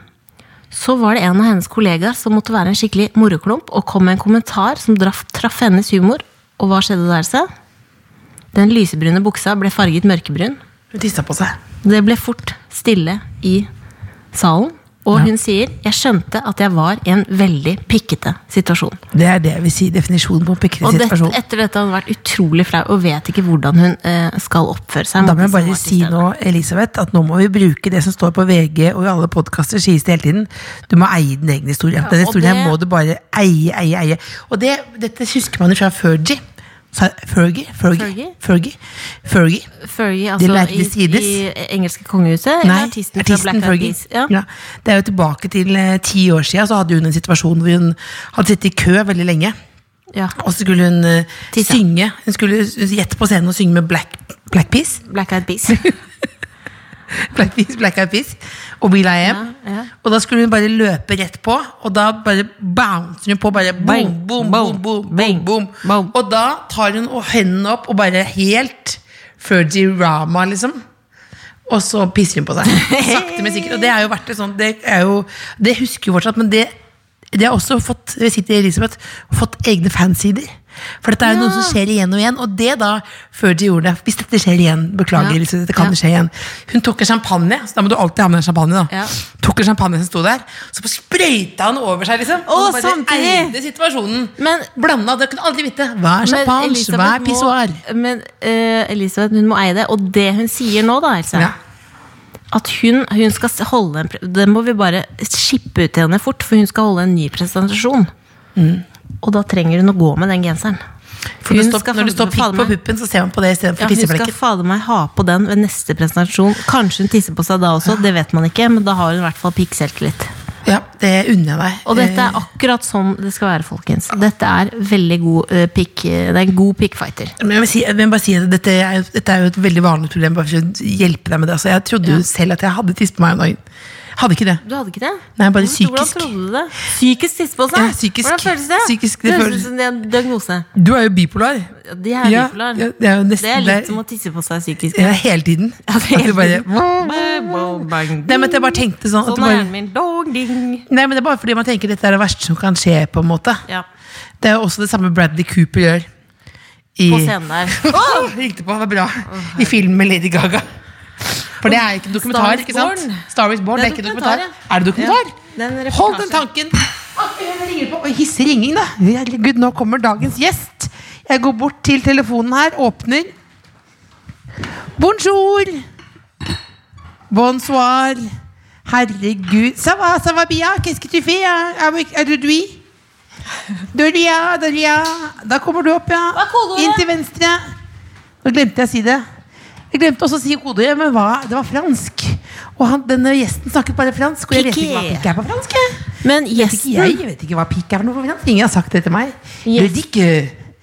[SPEAKER 3] så var det en av hennes kollegaer som måtte være en skikkelig moroklump og kom med en kommentar som traff, traff hennes humor. Og hva skjedde der, se? Den lysebrune buksa ble farget mørkebrun.
[SPEAKER 2] Hun tissa på seg.
[SPEAKER 3] Det ble fort stille i salen. Og hun sier 'jeg skjønte at jeg var i en veldig pikkete situasjon'.
[SPEAKER 2] Det er det jeg vil si definisjonen på en
[SPEAKER 3] Og
[SPEAKER 2] pikkete
[SPEAKER 3] dette,
[SPEAKER 2] situasjon.
[SPEAKER 3] etter dette har hun vært utrolig flau og vet ikke hvordan hun eh, skal oppføre seg.
[SPEAKER 2] Da må
[SPEAKER 3] mot de
[SPEAKER 2] jeg
[SPEAKER 3] som
[SPEAKER 2] bare
[SPEAKER 3] var til
[SPEAKER 2] si
[SPEAKER 3] stede.
[SPEAKER 2] nå, Elisabeth, at nå må vi bruke det som står på VG og i alle podkaster sies det hele tiden. Du må eie din egen historie. Den
[SPEAKER 3] og
[SPEAKER 2] historien her
[SPEAKER 3] det-
[SPEAKER 2] må du bare eie, eie, eie. Og det, dette husker man jo fra Fergie. Sa- Fergie? Fergie?
[SPEAKER 3] Fergie?
[SPEAKER 2] Fergie? Fergie.
[SPEAKER 3] Fergie,
[SPEAKER 2] De
[SPEAKER 3] altså,
[SPEAKER 2] lærte
[SPEAKER 3] i,
[SPEAKER 2] sides.
[SPEAKER 3] i engelske kongehuset? eller
[SPEAKER 2] Nei,
[SPEAKER 3] artisten,
[SPEAKER 2] artisten,
[SPEAKER 3] fra Black Eyed
[SPEAKER 2] Fergie.
[SPEAKER 3] Peas? Ja.
[SPEAKER 2] Ja. Det er jo tilbake til eh, ti år siden, så hadde hun en situasjon hvor hun hadde sittet i kø veldig lenge.
[SPEAKER 3] Ja.
[SPEAKER 2] Og så skulle hun eh,
[SPEAKER 3] Tisse.
[SPEAKER 2] synge. Hun skulle gjette på scenen og synge med Black, Black Peas.
[SPEAKER 3] Black Eyed Peas.
[SPEAKER 2] Black Peas, Black Eyed Peas og Will I Am.
[SPEAKER 3] Ja, ja.
[SPEAKER 2] Og da skulle hun bare løpe rett på, og da bare bouncer hun på. Bare boom,
[SPEAKER 3] Bang,
[SPEAKER 2] boom, boom, boom,
[SPEAKER 3] boom,
[SPEAKER 2] boom,
[SPEAKER 3] bang,
[SPEAKER 2] boom.
[SPEAKER 3] boom.
[SPEAKER 2] Og da tar hun og hendene opp og bare helt Fergie Rama, liksom. Og så pisser hun på seg. Sakte, men sikkert. Og det er jo vært det sånn, det er jo Det husker jo fortsatt, men det det har også fått jeg sitter i Elisabeth, fått egne fansider. For dette er jo noe som skjer igjen og igjen. Og det da, før de gjorde det Hvis dette skjer igjen, beklager,
[SPEAKER 3] Ja.
[SPEAKER 2] Elisabeth, dette kan
[SPEAKER 3] Ja.
[SPEAKER 2] skje igjen. Hun tok en champagne, så da må du alltid ha med en champagne. da
[SPEAKER 3] Ja.
[SPEAKER 2] Tok en champagne som sto der, så bare sprøyta han over seg, liksom.
[SPEAKER 3] Å,
[SPEAKER 2] og
[SPEAKER 3] samtidig!
[SPEAKER 2] eide situasjonen.
[SPEAKER 3] Men-
[SPEAKER 2] Blanda, det kunne aldri vite. Hva er
[SPEAKER 3] Men
[SPEAKER 2] champagne,
[SPEAKER 3] Elisabeth
[SPEAKER 2] hva er
[SPEAKER 3] må-
[SPEAKER 2] pissoar?
[SPEAKER 3] Men eh, Elisabeth hun må eie det. Og det hun sier nå, da, Else
[SPEAKER 2] Ja.
[SPEAKER 3] At hun, hun skal s- holde en pre- Det må vi bare skippe ut til henne fort, for hun skal holde en ny presentasjon. Og da trenger hun å gå med den genseren.
[SPEAKER 2] Mm. For det
[SPEAKER 3] Hun
[SPEAKER 2] står-
[SPEAKER 3] skal
[SPEAKER 2] Når det står
[SPEAKER 3] fader
[SPEAKER 2] pikk på
[SPEAKER 3] meg-
[SPEAKER 2] puppen, så ser man på det
[SPEAKER 3] ja,
[SPEAKER 2] istedenfor
[SPEAKER 3] hun skal
[SPEAKER 2] tisseflekken.
[SPEAKER 3] fader meg ha på den ved neste presentasjon. Kanskje hun tisser på seg da også, det vet man ikke, men da har hun i hvert fall pikkselvtillit.
[SPEAKER 2] Ja, det unner jeg deg.
[SPEAKER 3] Og dette
[SPEAKER 2] Eh,
[SPEAKER 3] er akkurat sånn det skal være, folkens. Dette er veldig god eh, pikk... Det er en god pikkfighter.
[SPEAKER 2] Men jeg vil, si, jeg vil bare si at dette er, jo- dette er jo et veldig vanlig problem. Bare for å hjelpe deg med det altså, Jeg trodde jo selv at jeg hadde tiss på meg om dagen. Hadde ikke det.
[SPEAKER 3] Du hadde ikke det?
[SPEAKER 2] Nei, bare
[SPEAKER 3] Hvordan-
[SPEAKER 2] psykisk.
[SPEAKER 3] Hvordan trodde du det? Psykisk tissepose?
[SPEAKER 2] Ja, psykisk.
[SPEAKER 3] Hvordan føles det?
[SPEAKER 2] Psykisk, det
[SPEAKER 3] det høres
[SPEAKER 2] føles-
[SPEAKER 3] ut som det er en diagnose.
[SPEAKER 2] Du er jo bipolar.
[SPEAKER 3] Ja, Det er
[SPEAKER 2] Ja,
[SPEAKER 3] bipolar.
[SPEAKER 2] ja, det er jo nesten
[SPEAKER 3] det er
[SPEAKER 2] der-
[SPEAKER 3] litt som å tisse på seg psykisk.
[SPEAKER 2] Ja, hele tiden.
[SPEAKER 3] det er
[SPEAKER 2] At du bare,
[SPEAKER 3] helt- Bo- bang.
[SPEAKER 2] nei, men at jeg bare tenkte sånn. At
[SPEAKER 3] Sånn
[SPEAKER 2] du
[SPEAKER 3] er
[SPEAKER 2] bare,
[SPEAKER 3] hjernen min. Dong, ding.
[SPEAKER 2] nei, men det er bare fordi man tenker dette er det verste som kan skje. på en måte
[SPEAKER 3] Ja,
[SPEAKER 2] Det er jo også det samme Bradley Cooper gjør. I,
[SPEAKER 3] på scenen der.
[SPEAKER 2] Åh, det gikk det på, det var bra. I filmen med Lady Gaga. For det er ikke en
[SPEAKER 3] Star
[SPEAKER 2] dokumentar.
[SPEAKER 3] is
[SPEAKER 2] ikke sant?
[SPEAKER 3] Born.
[SPEAKER 2] Star is Born, det er ikke en dokumentar. Er det dokumentar?
[SPEAKER 3] Ja, det er en reportasje.
[SPEAKER 2] Hold den tanken! Å, jeg ringer på. Oi, hissig ringing, da. Herregud, nå kommer dagens gjest. Jeg går bort til telefonen her, åpner. Bonjour! Bonsoir. Herregud. Ça va, ça va bien? Qu'est-ce que tu fais hein, Ah euh, avec- aujourd'hui? Doria, Doria. Da kommer du opp, ja.
[SPEAKER 3] Hva er kodeordet?
[SPEAKER 2] Inn til venstre. Nå glemte jeg å si det. Jeg glemte også å si kodeordet, men hva? det var fransk. Og han, denne gjesten snakket bare fransk, og jeg vet
[SPEAKER 3] Piqué.
[SPEAKER 2] ikke hva pikk er på fransk. jeg.
[SPEAKER 3] Men
[SPEAKER 2] Vet ikke jeg,
[SPEAKER 3] gjesten
[SPEAKER 2] jeg vet ikke hva pikk er for noe på fransk. Ingen har sagt det til meg.
[SPEAKER 3] Yes.
[SPEAKER 2] Yes. Ikke.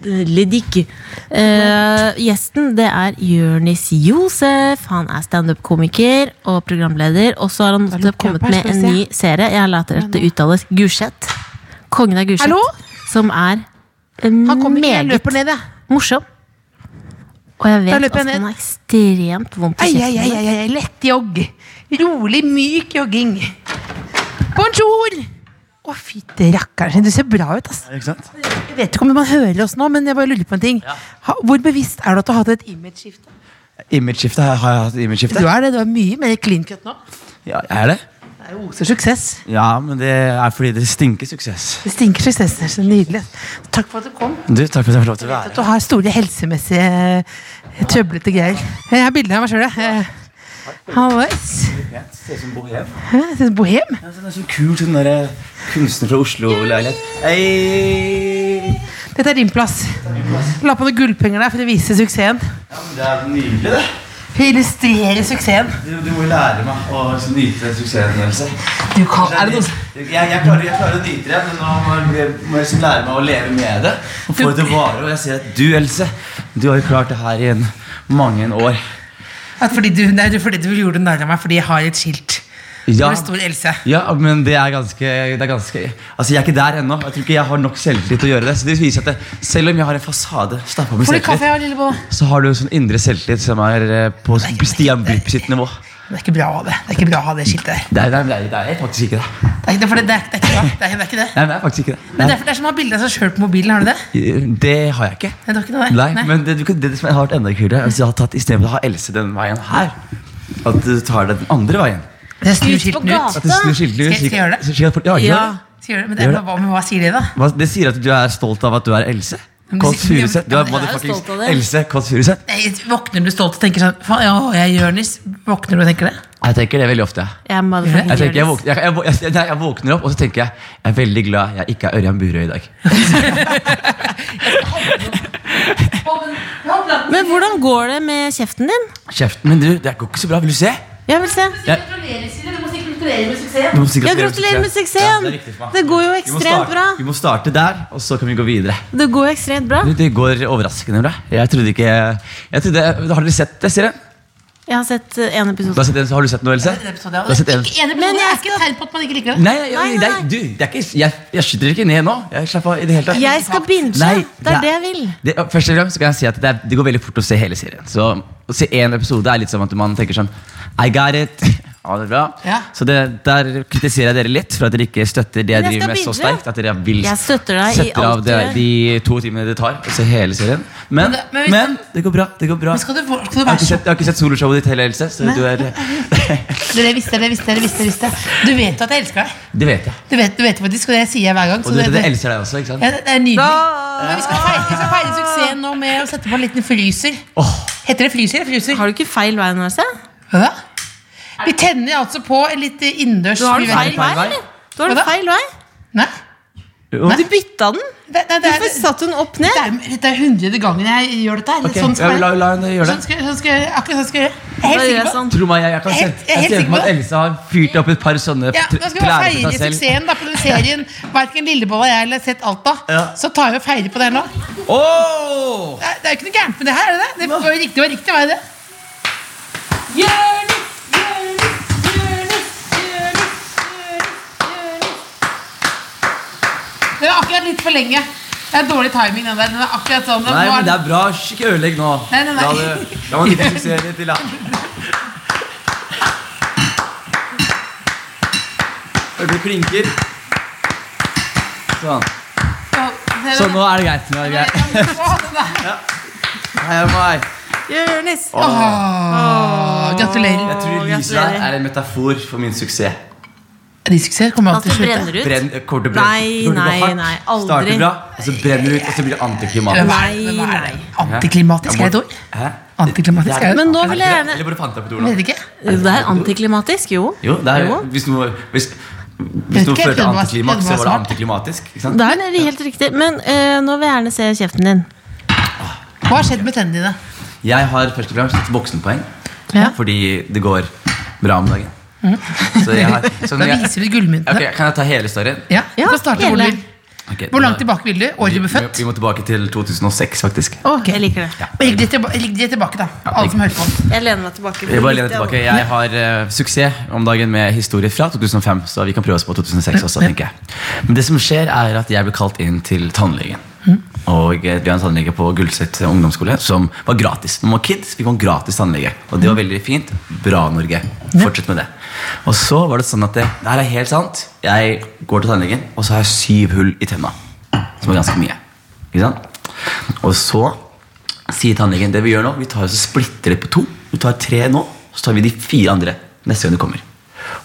[SPEAKER 3] Ledik. Eh, gjesten det er Jonis Josef. Han er standup-komiker og programleder. Og så har han nettopp
[SPEAKER 2] lukker jeg opp
[SPEAKER 3] kommet
[SPEAKER 2] her,
[SPEAKER 3] med
[SPEAKER 2] skal vi
[SPEAKER 3] en
[SPEAKER 2] se.
[SPEAKER 3] ny serie. Jeg later at det uttales Gulset. Kongen av Gulset.
[SPEAKER 2] Hallo?
[SPEAKER 3] Som er eh,
[SPEAKER 2] Han kommer ikke, jeg
[SPEAKER 3] meget
[SPEAKER 2] løper ned, jeg.
[SPEAKER 3] morsom. Og jeg
[SPEAKER 2] Da
[SPEAKER 3] vet
[SPEAKER 2] løper
[SPEAKER 3] at
[SPEAKER 2] jeg
[SPEAKER 3] han
[SPEAKER 2] ned.
[SPEAKER 3] har ekstremt vondt i
[SPEAKER 2] Ai, ai, ai,
[SPEAKER 3] kjeften.
[SPEAKER 2] ai, ai, lett jogg. Rolig, myk jogging. Bonjour! Å, fytti rakkeren, du ser bra ut, ass.
[SPEAKER 4] Ikke sant?
[SPEAKER 2] Jeg vet ikke om man hører oss nå, men jeg bare lurer på en ting. Ha, hvor bevisst er du at du har hatt et image-skifte?
[SPEAKER 4] Imageskifte. Har jeg hatt
[SPEAKER 2] Du
[SPEAKER 4] imageskifte?
[SPEAKER 2] er det, du er mye mer clean cut nå.
[SPEAKER 4] Ja, jeg er det?
[SPEAKER 2] Det er jo oser suksess.
[SPEAKER 4] Ja, men det er fordi det stinker suksess.
[SPEAKER 2] Det stinker suksess, det er så nydelig. Takk for at du kom.
[SPEAKER 4] Du, takk for at jeg fikk lov til å
[SPEAKER 2] At
[SPEAKER 4] være
[SPEAKER 2] du har store helsemessige eh, trøblete greier. Jeg har bilder av meg sjøl, jeg. Eh, Hallois.
[SPEAKER 4] her. Ser ut som bohem.
[SPEAKER 2] Hæ, jeg synes Bohem.
[SPEAKER 4] Ja, Det er så kult, den derre kunstner fra Oslo-leilighet. Hei!
[SPEAKER 2] Dette er din plass. La på noen gullpenger der for å vise suksessen.
[SPEAKER 4] Ja, men det er nydelig, det.
[SPEAKER 2] For å illustrere suksessen.
[SPEAKER 4] Du, du må jo lære meg å nyte suksessen. Else.
[SPEAKER 2] Du kan, er det noe som-
[SPEAKER 4] jeg, jeg, klarer, jeg klarer å nyte det, men nå må jeg, bli- må jeg liksom lære meg å leve med det. Og få det til å vare. Og jeg ser at du, Else, du har jo klart det her i en, mange en år.
[SPEAKER 2] At fordi du, nei, det er fordi du gjorde narr av meg fordi jeg har et skilt.
[SPEAKER 4] Ja.
[SPEAKER 2] Hvor det står Else.
[SPEAKER 4] Ja, men det er ganske, det er ganske Altså, Jeg er ikke der ennå. Jeg tror ikke jeg har nok selvtillit til å gjøre det. Så det viser at det, selv om jeg har en fasade stappa med
[SPEAKER 2] Får du kaffe
[SPEAKER 4] selvtillit,
[SPEAKER 2] her, lillebo?
[SPEAKER 4] så har du en sånn indre selvtillit som er eh, på Stian Blipp sitt nivå.
[SPEAKER 2] Det er ikke bra å ha det. Det er ikke bra å ha det skiltet der.
[SPEAKER 4] Det er, det er, det er faktisk ikke det.
[SPEAKER 2] Det er, ikke- for det, det, er, det er ikke bra. Det er, det er ikke det.
[SPEAKER 4] Nei, det er faktisk ikke det.
[SPEAKER 2] Men det
[SPEAKER 4] Nei.
[SPEAKER 2] er, for det er som å ha bilde av seg sjøl på mobilen. Har du det?
[SPEAKER 4] Det har jeg ikke.
[SPEAKER 2] Nei, det er ikke noe der.
[SPEAKER 4] Nei,
[SPEAKER 2] Nei.
[SPEAKER 4] men det, du kan- det som har vært enda kulere, er hvis jeg har tatt istedenfor å ha Else den veien her, at du tar det den andre veien.
[SPEAKER 2] Jeg snur
[SPEAKER 3] Ut på
[SPEAKER 2] skiltene ut.
[SPEAKER 4] At du snur skiltene ut.
[SPEAKER 2] Skal jeg- skal jeg gjøre det?
[SPEAKER 4] slik- slik at folk- Ja, gjør det.
[SPEAKER 2] Sier du det? Men det,
[SPEAKER 4] Gjør
[SPEAKER 2] er-
[SPEAKER 4] det.
[SPEAKER 2] hva, men hva sier det, da?
[SPEAKER 4] Hva- Det sier at du er stolt av at du er Else.
[SPEAKER 2] Men det
[SPEAKER 4] Kåss
[SPEAKER 2] sier-
[SPEAKER 4] Furuseth. Du er
[SPEAKER 2] Ja, men jeg
[SPEAKER 3] er jo
[SPEAKER 4] motherfuckings
[SPEAKER 3] stolt av det.
[SPEAKER 4] Else Kåss Furuseth.
[SPEAKER 2] Nei, våkner du stolt og tenker sånn Faen, ja, jeg er Jonis. Våkner du og tenker det?
[SPEAKER 4] Jeg tenker det veldig ofte.
[SPEAKER 3] Jeg er motherfucking
[SPEAKER 4] Jeg, tenker, jeg,
[SPEAKER 3] Jonis.
[SPEAKER 4] våkner, jeg, jeg, våk- jeg, nei, jeg våkner opp, og så tenker jeg jeg er veldig glad jeg ikke er Ørjan Burøe i dag.
[SPEAKER 3] Men hvordan går det med kjeften din?
[SPEAKER 4] Kjeften min, du. Det går ikke så bra. Vil du se?
[SPEAKER 3] Jeg vil se.
[SPEAKER 4] Du må sikkert
[SPEAKER 3] Ja,
[SPEAKER 4] gratulerer
[SPEAKER 3] gratulerer med
[SPEAKER 4] Ja,
[SPEAKER 3] suksessen!
[SPEAKER 4] det er riktig for meg.
[SPEAKER 3] Det går jo
[SPEAKER 4] Vi må
[SPEAKER 3] ekstremt
[SPEAKER 4] starte-
[SPEAKER 3] bra.
[SPEAKER 4] Vi må starte der, og så kan vi gå videre.
[SPEAKER 3] Det går jo ekstremt bra.
[SPEAKER 4] Du, Det går overraskende bra. Jeg trodde ikke jeg trodde, Har dere sett det, Siri?
[SPEAKER 3] Jeg har sett eh, en episode.
[SPEAKER 4] Du har, sett en, har du sett noe, Else? Du har sett en.
[SPEAKER 3] Men jeg
[SPEAKER 2] ikke tegn på at man ikke liker
[SPEAKER 4] Nei, nei, nei,
[SPEAKER 3] Nei, nei,
[SPEAKER 4] nei,
[SPEAKER 3] nei.
[SPEAKER 4] du, det er ikke, jeg, jeg skyter dere ikke ned nå. Jeg slapper av i det hele tatt.
[SPEAKER 3] Jeg skal binge.
[SPEAKER 4] Nei,
[SPEAKER 3] det er det jeg vil.
[SPEAKER 4] Det, først og fremst så kan jeg si at det, er, det går veldig fort å se hele serien. Så å se én episode er litt som at man tenker sånn I got it. Ja, det er bra.
[SPEAKER 2] Ja.
[SPEAKER 4] Så det, der kritiserer jeg dere litt for at dere ikke støtter det
[SPEAKER 3] Men
[SPEAKER 4] jeg,
[SPEAKER 3] jeg
[SPEAKER 4] driver med
[SPEAKER 3] skal
[SPEAKER 4] så
[SPEAKER 3] begynne.
[SPEAKER 4] sterkt. At dere vil
[SPEAKER 3] Jeg støtter deg i
[SPEAKER 4] setter av
[SPEAKER 3] alt du
[SPEAKER 4] det,
[SPEAKER 3] gjør.
[SPEAKER 4] de to timene det tar å se hele serien. Men,
[SPEAKER 2] Men det- men
[SPEAKER 4] men,
[SPEAKER 2] hvis-
[SPEAKER 4] det går bra. det går bra
[SPEAKER 2] Men skal du, skal du
[SPEAKER 4] Jeg har
[SPEAKER 2] være
[SPEAKER 4] ikke
[SPEAKER 2] så
[SPEAKER 4] sett, jeg har ikke sett soloshowet ditt heller, Else. Så du er,
[SPEAKER 2] Dere visste, dere visste, dere visste, dere visste. Du vet jo at jeg elsker deg.
[SPEAKER 4] det vet jeg.
[SPEAKER 2] Du vet, du vet faktisk, og det sier jeg hver gang.
[SPEAKER 4] Og
[SPEAKER 2] Så
[SPEAKER 4] du
[SPEAKER 2] det,
[SPEAKER 4] vet at
[SPEAKER 2] det,
[SPEAKER 4] jeg elsker deg også, ikke sant?
[SPEAKER 2] ja, det er nydelig. Men vi skal feire, vi skal feire suksessen nå med å sette på en liten fryser.
[SPEAKER 4] Åh.
[SPEAKER 2] Heter det fryser eller fryser?
[SPEAKER 3] Har du ikke feil vei nå, Else?
[SPEAKER 2] Hva da? Vi tenner altså på en litt innendørs
[SPEAKER 3] Du har den
[SPEAKER 2] fyrverkeri.
[SPEAKER 3] feil vei,
[SPEAKER 4] vei?
[SPEAKER 3] eller? Du har
[SPEAKER 2] Hva
[SPEAKER 3] den
[SPEAKER 2] da?
[SPEAKER 3] feil vei.
[SPEAKER 2] Nei,
[SPEAKER 4] Jo.
[SPEAKER 3] Du bytta den.
[SPEAKER 2] det, nei, det er,
[SPEAKER 3] Hvorfor satt hun opp ned?
[SPEAKER 2] det er, dette er hundrede gangen jeg gjør dette her.
[SPEAKER 4] Ok,
[SPEAKER 2] Sånn
[SPEAKER 4] ja,
[SPEAKER 2] skal
[SPEAKER 4] la,
[SPEAKER 2] jeg
[SPEAKER 4] la henne gjøre
[SPEAKER 2] sånn
[SPEAKER 4] det.
[SPEAKER 2] skal, jeg- sånn skal, jeg- akkurat sånn skal jeg gjøre. Jeg er
[SPEAKER 3] Da
[SPEAKER 2] helt
[SPEAKER 3] gjør
[SPEAKER 2] sikker
[SPEAKER 3] jeg
[SPEAKER 2] på
[SPEAKER 3] sånn.
[SPEAKER 4] Tro meg, jeg, jeg kan
[SPEAKER 2] Jeg er helt-
[SPEAKER 4] se-
[SPEAKER 2] jeg er
[SPEAKER 4] Jeg
[SPEAKER 2] helt
[SPEAKER 4] ser for meg
[SPEAKER 2] sikker på
[SPEAKER 4] at Else har fyrt opp et par sånne
[SPEAKER 2] ja, nå skal vi
[SPEAKER 4] plærer til
[SPEAKER 2] feire
[SPEAKER 4] seg selv.
[SPEAKER 2] suksessen da, på den serien. Verken Lillebolla og jeg eller sett alt da.
[SPEAKER 4] Ja.
[SPEAKER 2] Så tar vi og feirer på det her nå.
[SPEAKER 4] Åh!
[SPEAKER 2] Det er, det er jo ikke noe gærent med det her, er det det? Det var jo riktig, det var riktig, var det det?
[SPEAKER 3] Jonis, Jonis, Jonis, Jonis.
[SPEAKER 6] litt for lenge. Det er dårlig timing, den der. Den er akkurat sånn.
[SPEAKER 4] Nei,
[SPEAKER 6] Nå er
[SPEAKER 4] men det
[SPEAKER 6] den-
[SPEAKER 4] er bra. Sk- Ikke ødelegg nå.
[SPEAKER 6] Nei, nei, nei.
[SPEAKER 4] La, det, la man ikke suksessere til da. Hørte du klinker? Sånn.
[SPEAKER 6] Å,
[SPEAKER 4] Så nå er det greit. Nå er det greit. Hei, hei, hei.
[SPEAKER 3] Jonis!
[SPEAKER 6] Å, Gratulerer.
[SPEAKER 4] Jeg tror Lisa er en metafor for min suksess.
[SPEAKER 6] Din suksess kommer
[SPEAKER 3] At
[SPEAKER 6] alltid
[SPEAKER 3] du
[SPEAKER 6] til å slutte.
[SPEAKER 3] brenner ut?
[SPEAKER 4] Brenn, kort og brenn.
[SPEAKER 3] Nei,
[SPEAKER 4] Kort og
[SPEAKER 3] nei,
[SPEAKER 4] hardt.
[SPEAKER 3] nei, aldri.
[SPEAKER 4] Starter bra, og så brenner du ut, og så blir det antiklimatisk.
[SPEAKER 3] Nei,
[SPEAKER 6] Hvem er det?
[SPEAKER 3] nei.
[SPEAKER 6] Antiklimatisk er et ord.
[SPEAKER 4] Hæ?
[SPEAKER 6] Antiklimatisk er et
[SPEAKER 3] Men nå vil jeg gjerne
[SPEAKER 4] Eller bare fant jeg på et ord nå?
[SPEAKER 6] Vet ikke.
[SPEAKER 3] Det er antiklimatisk, jo.
[SPEAKER 4] Jo, det er,
[SPEAKER 3] Jo.
[SPEAKER 4] hvis noe, hvis,
[SPEAKER 6] Vet
[SPEAKER 4] hvis noe
[SPEAKER 6] ikke,
[SPEAKER 4] fører til
[SPEAKER 6] den var-
[SPEAKER 4] antiklimaks,
[SPEAKER 6] den
[SPEAKER 4] så
[SPEAKER 6] var
[SPEAKER 4] var det
[SPEAKER 6] smart.
[SPEAKER 4] antiklimatisk. Ikke sant?
[SPEAKER 3] Det er det helt riktig. Men eh, nå vil jeg gjerne se kjeften din.
[SPEAKER 6] Hva har skjedd med tennene dine?
[SPEAKER 4] Jeg har først og fremst et voksenpoeng,
[SPEAKER 3] Ja.
[SPEAKER 4] fordi det går bra om dagen. Så jeg har, så
[SPEAKER 6] Mm. Da
[SPEAKER 4] når jeg,
[SPEAKER 6] viser du gullmyntene.
[SPEAKER 4] Ok, kan jeg ta hele storyen?
[SPEAKER 6] Ja,
[SPEAKER 3] Ja,
[SPEAKER 6] du får starte hvor du
[SPEAKER 3] hele.
[SPEAKER 6] vil.
[SPEAKER 4] Ok,
[SPEAKER 6] Hvor langt
[SPEAKER 4] da-
[SPEAKER 6] tilbake vil du? Året du ble født?
[SPEAKER 4] Vi, vi må tilbake til 2006, faktisk.
[SPEAKER 3] Ok, Jeg liker det.
[SPEAKER 6] Og Ligg det tilba- ligg det tilbake, da. Alle som hører på.
[SPEAKER 3] Jeg lener meg tilbake.
[SPEAKER 4] Jeg bare lener tilbake. Jeg har eh, suksess om dagen med historier fra 2005, så vi kan prøve oss på 2006 også, tenker jeg. Men det som skjer, er at jeg ble kalt inn til tannlegen. Og eh, vi har en tannlege på Gullset ungdomsskole som var gratis. Når man var kids, fikk man gratis tannlege. Og det var veldig fint. Bra, Norge. Fortsett med det. Og så var det sånn at det, det her er helt sant. Jeg går til tannlegen, og så har jeg syv hull i tenna. Som er ganske mye. Ikke sant? Og så sier tannlegen det vi gjør nå, vi tar oss og splitter det på to. Du tar tre nå, så tar vi de fire andre neste gang du kommer.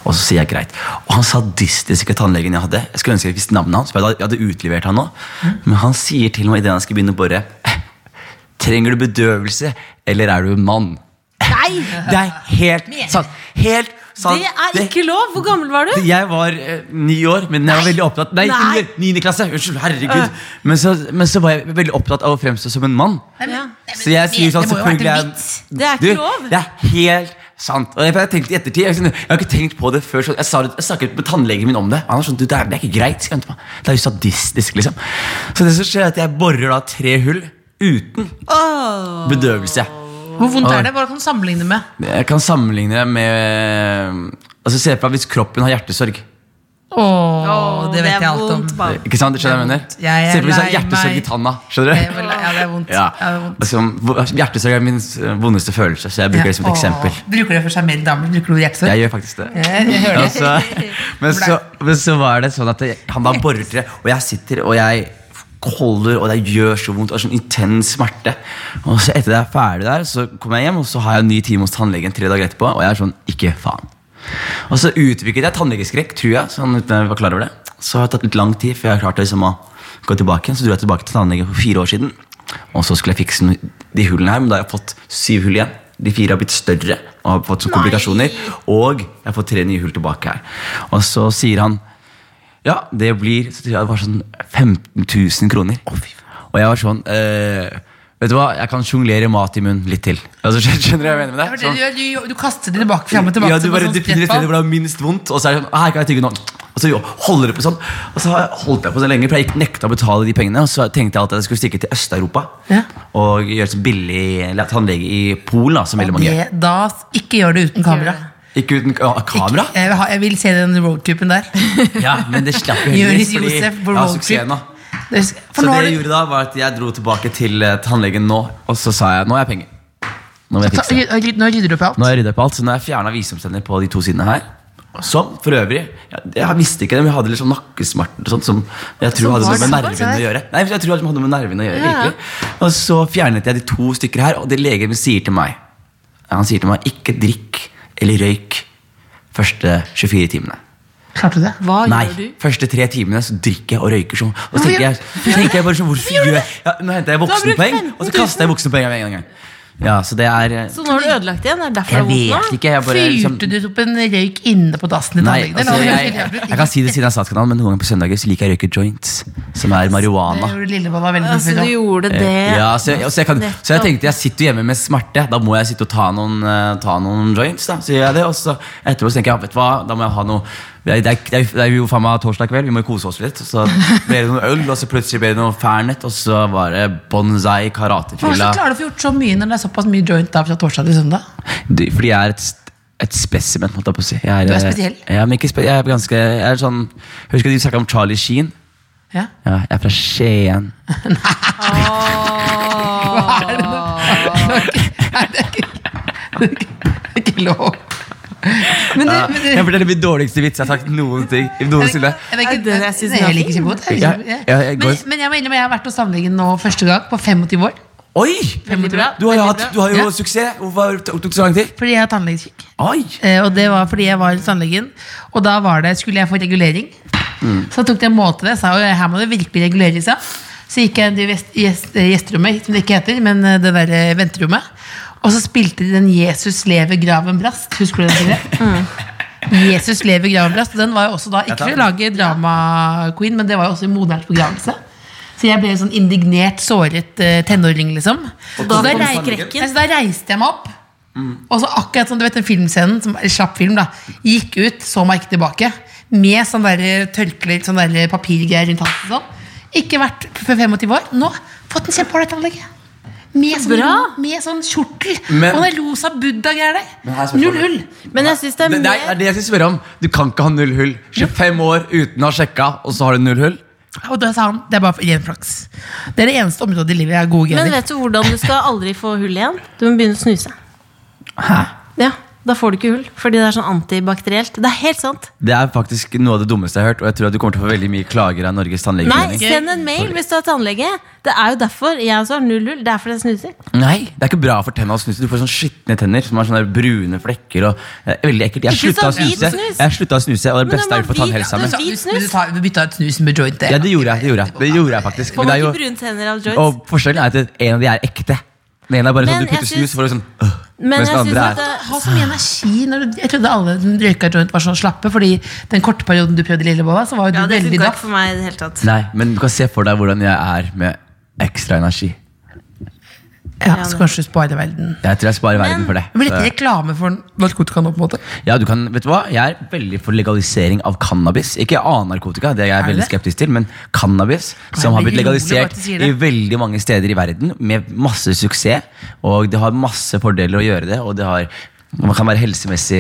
[SPEAKER 4] Og så sier jeg greit. Og han sadistiske tannlegen jeg hadde, jeg skulle ønske jeg visste navnet hans, for jeg hadde- jeg hadde utlevert han nå,
[SPEAKER 3] Mm.
[SPEAKER 4] men han sier til meg idet han skal begynne å bore Trenger du bedøvelse, eller er du en mann?
[SPEAKER 3] Nei!
[SPEAKER 4] Det er helt sant. Helt sant.
[SPEAKER 3] Det er ikke lov! Hvor gammel var du?
[SPEAKER 4] Jeg var eh, ni år, men jeg var veldig opptatt Nei,
[SPEAKER 3] Nei.
[SPEAKER 4] under, niende klasse! Unnskyld, herregud. Men så, men så var jeg veldig opptatt av å fremstå som en mann.
[SPEAKER 3] Ja.
[SPEAKER 4] Så jeg sier sånn
[SPEAKER 6] det må jo
[SPEAKER 4] selvfølgelig
[SPEAKER 6] være en
[SPEAKER 4] jeg-
[SPEAKER 3] Det er ikke lov.
[SPEAKER 4] Det er helt sant. Og jeg, jeg tenkte i ettertid Jeg, jeg har ikke tenkt på det før. Så jeg, sa det, jeg snakket med tannlegen min om det. Han var sånn, du, det, er, det er ikke greit. sier han til meg. Det er jo sadistisk, liksom. Så det som skjer, er at jeg borer da tre hull uten bedøvelse.
[SPEAKER 6] Hvor vondt er det? Hva kan du sammenligne med?
[SPEAKER 4] Jeg kan sammenligne det med Altså Se for deg hvis kroppen har hjertesorg.
[SPEAKER 6] Åh,
[SPEAKER 3] Åh,
[SPEAKER 6] det vet jeg alt om.
[SPEAKER 3] vondt, barn.
[SPEAKER 4] Ikke sant, det skjønner jeg mener?
[SPEAKER 6] vondt. Jeg er
[SPEAKER 4] Se for deg hvis jeg har
[SPEAKER 6] lei
[SPEAKER 4] hjertesorg
[SPEAKER 6] meg.
[SPEAKER 4] i tanna. Skjønner
[SPEAKER 6] Det
[SPEAKER 4] du?
[SPEAKER 6] er vel- Ja, det er vondt.
[SPEAKER 4] Ja.
[SPEAKER 6] Ja, det er vondt.
[SPEAKER 4] Altså, hvor- hjertesorg er min eh, vondeste følelse, så jeg bruker det som et
[SPEAKER 6] Åh,
[SPEAKER 4] eksempel.
[SPEAKER 6] Bruker du det for sjarmerende damer? Bruker du hjertesorg?
[SPEAKER 4] Jeg gjør faktisk det.
[SPEAKER 6] Jeg- jeg hører
[SPEAKER 4] Ja,
[SPEAKER 6] det.
[SPEAKER 4] så, men, så, men så var det sånn at jeg, han da borer det, og jeg sitter og jeg holder, og det gjør så vondt. Og sånn intens smerte. Og så etter det er ferdig der, så kommer jeg hjem, og så har jeg en ny time hos tannlegen tre dager etterpå, og jeg er sånn ikke faen. Og så utviklet jeg tannlegeskrekk, tror jeg. Sånn uten jeg var klar over det Så har det tatt litt lang tid før jeg har klart å liksom å gå tilbake igjen. Så dro jeg tilbake til tannlegen for fire år siden. Og så skulle jeg fikse de hullene her, men da har jeg fått syv hull igjen. De fire har blitt større og har fått sånn komplikasjoner. Og jeg har fått tre nye hull tilbake her. Og så sier han ja, det blir så tror jeg det var sånn 15 000 kroner. Og jeg var sånn eh, Vet du hva, jeg kan sjonglere mat i munnen litt til. Altså, skjønner du hva jeg mener med det?
[SPEAKER 6] Det var
[SPEAKER 4] Sånn-
[SPEAKER 6] det Du, gjør, du, du kaster det tilbake frem og tilbake.
[SPEAKER 4] ja, du
[SPEAKER 6] som en
[SPEAKER 4] bare
[SPEAKER 6] sånn
[SPEAKER 4] finner et
[SPEAKER 6] sprettball.
[SPEAKER 4] sted hvor det er minst vondt, og så er det sånn Her kan jeg tygge nå. Og så holder du på sånn. Og så har jeg holdt jeg på så lenge, for jeg gikk nekta å betale de pengene. Og så tenkte jeg at jeg skulle stikke til Øst-Europa
[SPEAKER 6] Ja.
[SPEAKER 4] og gjøre så billig eller tannlege i Polen, da, som veldig mange gjør.
[SPEAKER 6] Det, da, ikke gjør det uten kamera.
[SPEAKER 4] Ikke uten ka- kamera?
[SPEAKER 6] Ikke- Jeg, vil ha- jeg vil se den roadtripen der.
[SPEAKER 4] Ja, men det slapp jo
[SPEAKER 6] Jonis
[SPEAKER 4] heldigvis, fordi
[SPEAKER 6] Josef
[SPEAKER 4] jeg
[SPEAKER 6] på
[SPEAKER 4] har
[SPEAKER 6] roadtrip.
[SPEAKER 4] suksessen nå.
[SPEAKER 6] Det er- For
[SPEAKER 4] Så
[SPEAKER 6] nå
[SPEAKER 4] det
[SPEAKER 6] har
[SPEAKER 4] jeg
[SPEAKER 6] du
[SPEAKER 4] gjorde da, var at jeg dro tilbake til eh, tannlegen nå, og så sa jeg nå har jeg penger. Nå må jeg
[SPEAKER 6] Ta-
[SPEAKER 4] fikse.
[SPEAKER 6] ryd- Nå rydder du opp i alt.
[SPEAKER 4] Nå har jeg rydda opp alt, så nå har jeg fjerna visdomstenner på de to sidene her. Som for øvrig Jeg, jeg visste ikke det, men jeg hadde litt sånn nakkesmerter og sånt som jeg tror hadde noe med
[SPEAKER 6] var
[SPEAKER 4] nervene å
[SPEAKER 6] det?
[SPEAKER 4] gjøre. Nei, jeg tror det hadde noe med nervene å gjøre, virkelig. Og så fjernet jeg de to stykker her, og det legen min sier til meg Han sier til meg ikke drikk eller røyk første 24 timene.
[SPEAKER 6] Klarte du det?
[SPEAKER 3] Hva
[SPEAKER 4] Nei,
[SPEAKER 3] gjør du?
[SPEAKER 4] første tre timene så drikker jeg og røyker sånn. Og så tenker jeg, så tenker jeg bare sånn, hvorfor gjør jeg ja, Nå henter jeg
[SPEAKER 3] brukt
[SPEAKER 4] voksenpoeng,
[SPEAKER 3] 15 000.
[SPEAKER 4] og så kaster jeg voksenpoengene med en gang. Ja, så det er eh,
[SPEAKER 3] Så nå har du ødelagt igjen? Det er derfor
[SPEAKER 4] Jeg
[SPEAKER 3] det er
[SPEAKER 4] vet
[SPEAKER 3] vondt nå?
[SPEAKER 4] ikke, jeg bare liksom
[SPEAKER 6] Fyrte du opp en røyk inne på dassen i
[SPEAKER 4] Nei,
[SPEAKER 6] tannlegen?
[SPEAKER 4] altså, jeg, jeg kan si det siden jeg er statskanal, men noen ganger på søndager så liker jeg å røyke joints, som er marihuana.
[SPEAKER 6] Lillebolla veldig
[SPEAKER 3] Altså, du
[SPEAKER 6] mye før.
[SPEAKER 3] gjorde det
[SPEAKER 4] Eh, Ja, så, jeg, så, jeg kan, så jeg tenkte jeg sitter jo hjemme med smerte, da må jeg sitte og ta noen, eh, ta noen joints. Da, så gjør jeg det, og så etterpå så tenker jeg ja, vet du hva, da må jeg ha noe det er, det, er, det er- det er jo faen meg torsdag kveld, vi må jo kose oss litt. Så ble det noen øl, og så plutselig ble det noe Fernet, og så var det bonsai, karatefylla
[SPEAKER 6] Hvordan klarer du å få gjort så mye når det er såpass mye joint da fra torsdag til søndag?
[SPEAKER 4] Du, Fordi jeg er et, st- et spesimen, holdt jeg på å si. Jeg
[SPEAKER 6] Du
[SPEAKER 4] eh,
[SPEAKER 6] er spesiell.
[SPEAKER 4] Ja, men ikke spe jeg er ganske jeg er sånn, Husker du de snakket om Charlie Sheen?
[SPEAKER 2] Ja.
[SPEAKER 4] Ja, jeg er fra Skien.
[SPEAKER 2] Det er ikke lov.
[SPEAKER 6] Men det,
[SPEAKER 4] Ja,
[SPEAKER 6] men
[SPEAKER 4] jeg forteller min dårligste vits jeg har sagt noen ting, noensinne.
[SPEAKER 2] Er det ikke,
[SPEAKER 7] det jeg synes
[SPEAKER 2] Nei,
[SPEAKER 7] var
[SPEAKER 2] jeg liker ikke godt. Jeg
[SPEAKER 4] Ja,
[SPEAKER 2] liker ikke-
[SPEAKER 4] ja, jeg
[SPEAKER 2] men,
[SPEAKER 4] går-
[SPEAKER 2] men jeg må innrømme, jeg har vært hos tannlegen nå første gang på 25 år.
[SPEAKER 4] Oi!
[SPEAKER 2] Veldig bra.
[SPEAKER 4] Du har jo, hatt, du har jo
[SPEAKER 2] Ja.
[SPEAKER 4] suksess. Hvorfor tok det så lang tid?
[SPEAKER 2] Fordi jeg har tannlegeskikk.
[SPEAKER 4] Oi!
[SPEAKER 2] Eh, Og det var fordi jeg var hos tannlegen. Og da var det, skulle jeg få regulering.
[SPEAKER 4] Mm.
[SPEAKER 2] Så tok det en måte det. Sa jo her må det virkelig reguleres. Ja. Så gikk jeg inn i gjest- gjest- eh, gjesterommet, som det ikke heter, men eh, det der eh, venterommet. Og så spilte de den 'Jesus lever, graven brast'. Husker du den? Silje? Jesus lever, graven brast. Og den var jo også da, ikke for å lage drama-queen, men det var jo også i moderns begravelse. Så jeg ble en sånn indignert, såret eh, tenåring, liksom.
[SPEAKER 4] Og
[SPEAKER 3] Da
[SPEAKER 4] da
[SPEAKER 3] var
[SPEAKER 4] kom
[SPEAKER 3] reikrekken.
[SPEAKER 2] Nei, så da reiste jeg meg opp. Og så akkurat som du vet den filmscenen, som eller slapp film, da gikk ut, så meg ikke tilbake. Med sånn der tørkle, sånn der papirgreier rundt halsen. Sånn. Ikke vært for 25 år. Nå fått en kjempehard tannlege. Med sånn,
[SPEAKER 3] Bra.
[SPEAKER 2] med sånn kjortel
[SPEAKER 4] Men-
[SPEAKER 2] og den rosa buddha-greier
[SPEAKER 4] Men her
[SPEAKER 2] der.
[SPEAKER 4] spørs
[SPEAKER 2] Null
[SPEAKER 4] det.
[SPEAKER 2] hull.
[SPEAKER 3] Men jeg syns det er
[SPEAKER 4] Det, det er det
[SPEAKER 3] mer
[SPEAKER 4] er det jeg skal spørre om. Du kan ikke ha null hull. 25 år uten å ha sjekka, og så har du null hull?
[SPEAKER 2] Og da sa han det er bare ren flaks. Det er det eneste området i livet jeg har gode
[SPEAKER 3] Men
[SPEAKER 2] gener.
[SPEAKER 3] vet du hvordan du skal aldri få hull igjen? Du må begynne å snuse. Ja, Da får du ikke hull, fordi det er sånn antibakterielt. Det er helt sant.
[SPEAKER 4] Det er faktisk noe av det dummeste jeg har hørt, og jeg tror at du kommer til å få veldig mye klager av Norges
[SPEAKER 3] Nei,
[SPEAKER 4] tannlegeforening.
[SPEAKER 3] send en mail hvis du er tannlege. Det er jo derfor jeg også har null hull. Det er fordi jeg snuser.
[SPEAKER 4] Nei. det er ikke bra for tenna å snuse. Du får sånn skitne tenner som har sånne der brune flekker. Og, det er veldig ekkelt. Jeg
[SPEAKER 3] Ikke
[SPEAKER 4] slutta å
[SPEAKER 3] sånn hvit
[SPEAKER 4] snuse,
[SPEAKER 3] snus.
[SPEAKER 4] Jeg slutta å snuse og det
[SPEAKER 3] Men da
[SPEAKER 4] beste
[SPEAKER 3] må
[SPEAKER 4] er jo for
[SPEAKER 3] hvit-
[SPEAKER 4] tannhelsa mi.
[SPEAKER 3] du- hvit snus?
[SPEAKER 2] du tar- du bytta ut snusen med joint. det.
[SPEAKER 4] Ja, det gjorde jeg. Det gjorde jeg, det gjorde jeg faktisk.
[SPEAKER 3] Får
[SPEAKER 4] Men det
[SPEAKER 3] man
[SPEAKER 4] er
[SPEAKER 3] ikke
[SPEAKER 4] jo,
[SPEAKER 3] brune tenner av joints?
[SPEAKER 4] og forskjellen er at en av de er ekte. Den ene er bare
[SPEAKER 3] Men
[SPEAKER 4] sånn du
[SPEAKER 3] jeg
[SPEAKER 4] putter
[SPEAKER 3] syns-
[SPEAKER 4] snus, så får du sånn øh,
[SPEAKER 3] Men
[SPEAKER 4] Mens den
[SPEAKER 3] jeg synes
[SPEAKER 4] andre
[SPEAKER 3] at
[SPEAKER 4] er
[SPEAKER 3] det,
[SPEAKER 2] Ha så mye energi når du, Jeg trodde alle som røyka joint var så slappe, Fordi den korte perioden du prøvde lillebolla, så var jo du
[SPEAKER 3] ja, det
[SPEAKER 2] veldig
[SPEAKER 3] funka
[SPEAKER 2] daff.
[SPEAKER 3] ikke for meg i det hele tatt.
[SPEAKER 4] Nei, men du kan se for deg hvordan jeg er med ekstra energi.
[SPEAKER 2] Ja, så kanskje du sparer verden.
[SPEAKER 4] Jeg tror jeg sparer verden for det.
[SPEAKER 2] Det blir ikke reklame for narkotika nå, på en måte.
[SPEAKER 4] Ja, du kan, vet du hva? Jeg er veldig for legalisering av cannabis. Ikke annen narkotika, det er jeg
[SPEAKER 2] Er du
[SPEAKER 4] veldig
[SPEAKER 2] det?
[SPEAKER 4] skeptisk til, men cannabis, som har
[SPEAKER 2] det
[SPEAKER 4] blitt
[SPEAKER 2] er rolig
[SPEAKER 4] legalisert
[SPEAKER 2] at du sier
[SPEAKER 4] i
[SPEAKER 2] det.
[SPEAKER 4] veldig mange steder i verden, med masse suksess, og det har masse fordeler å gjøre det, og det har, man kan være helsemessig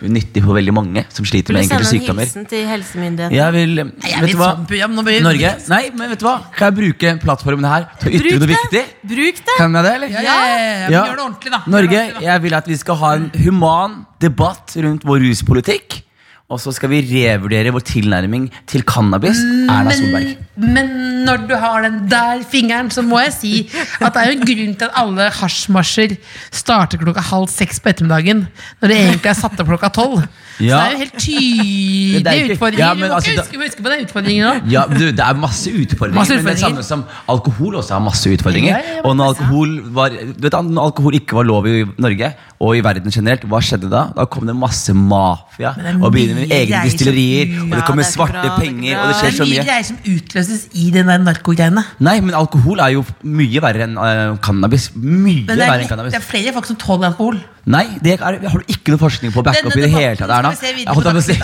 [SPEAKER 4] nyttig for veldig mange som sliter
[SPEAKER 3] Vil
[SPEAKER 4] med
[SPEAKER 3] du
[SPEAKER 4] enkelte
[SPEAKER 3] sende en
[SPEAKER 4] sykdommer.
[SPEAKER 3] hilsen til helsemyndighetene?
[SPEAKER 4] Jeg vil,
[SPEAKER 2] jeg
[SPEAKER 4] vet
[SPEAKER 2] vil
[SPEAKER 4] du hva?
[SPEAKER 2] sånn program, nå blir-
[SPEAKER 4] Norge? Nei, men vet du hva? Kan jeg bruke plattformen her til å ytre noe viktig?
[SPEAKER 3] Bruk det!
[SPEAKER 4] Kan jeg det, eller?
[SPEAKER 2] Ja, ja, ja, ja, men gjør det ordentlig, da. Gjør det
[SPEAKER 4] Norge,
[SPEAKER 2] ordentlig, da.
[SPEAKER 4] jeg vil at vi skal ha en human debatt rundt vår ruspolitikk. Og så skal vi revurdere vår tilnærming til cannabis.
[SPEAKER 2] Mm,
[SPEAKER 4] Erna Solberg.
[SPEAKER 2] Men når du har den der fingeren, så må jeg si at det er jo en grunn til at alle hasjmarsjer starter klokka halv seks på ettermiddagen. Når det egentlig er satt opp klokka tolv. Så det
[SPEAKER 4] Ja.
[SPEAKER 2] er jo helt tydelige
[SPEAKER 4] ikke-
[SPEAKER 2] utfordringer.
[SPEAKER 4] Ja, men
[SPEAKER 2] du må
[SPEAKER 4] altså,
[SPEAKER 2] ikke
[SPEAKER 4] da-
[SPEAKER 2] huske på, huske på de utfordringene nå.
[SPEAKER 4] Ja, du, Det er masse utfordringer,
[SPEAKER 2] Masse
[SPEAKER 4] men det er
[SPEAKER 2] utfordringer.
[SPEAKER 4] samme som alkohol også har masse utfordringer.
[SPEAKER 2] Ja, ja, ja,
[SPEAKER 4] og når alkohol, var, du vet, når alkohol ikke var lov i Norge, og i verden generelt, hva skjedde da? Da kom det masse mafia
[SPEAKER 2] det er
[SPEAKER 4] og begynner
[SPEAKER 2] mye
[SPEAKER 4] med egne
[SPEAKER 2] greier som-
[SPEAKER 4] distillerier. Og
[SPEAKER 3] Ja,
[SPEAKER 4] det kommer
[SPEAKER 3] det er ikke
[SPEAKER 4] svarte
[SPEAKER 3] bra, det er ikke
[SPEAKER 4] penger,
[SPEAKER 3] bra.
[SPEAKER 4] og det
[SPEAKER 2] Det er
[SPEAKER 4] skjer så
[SPEAKER 2] mye
[SPEAKER 4] mye.
[SPEAKER 2] greier som utløses i den der narkogreiene.
[SPEAKER 4] Nei, men alkohol er jo mye verre enn eh, cannabis. Mye
[SPEAKER 2] Men det
[SPEAKER 4] verre
[SPEAKER 2] er,
[SPEAKER 4] enn
[SPEAKER 2] lett,
[SPEAKER 4] cannabis.
[SPEAKER 2] det er flere folk som tåler alkohol.
[SPEAKER 4] Nei, det er, har du ikke noe forskning på å backe
[SPEAKER 2] Denne
[SPEAKER 4] opp i det hele
[SPEAKER 2] debatten
[SPEAKER 4] tatt, Erna.
[SPEAKER 2] skal vi se videre
[SPEAKER 4] Jeg holdt
[SPEAKER 2] på
[SPEAKER 4] på å si.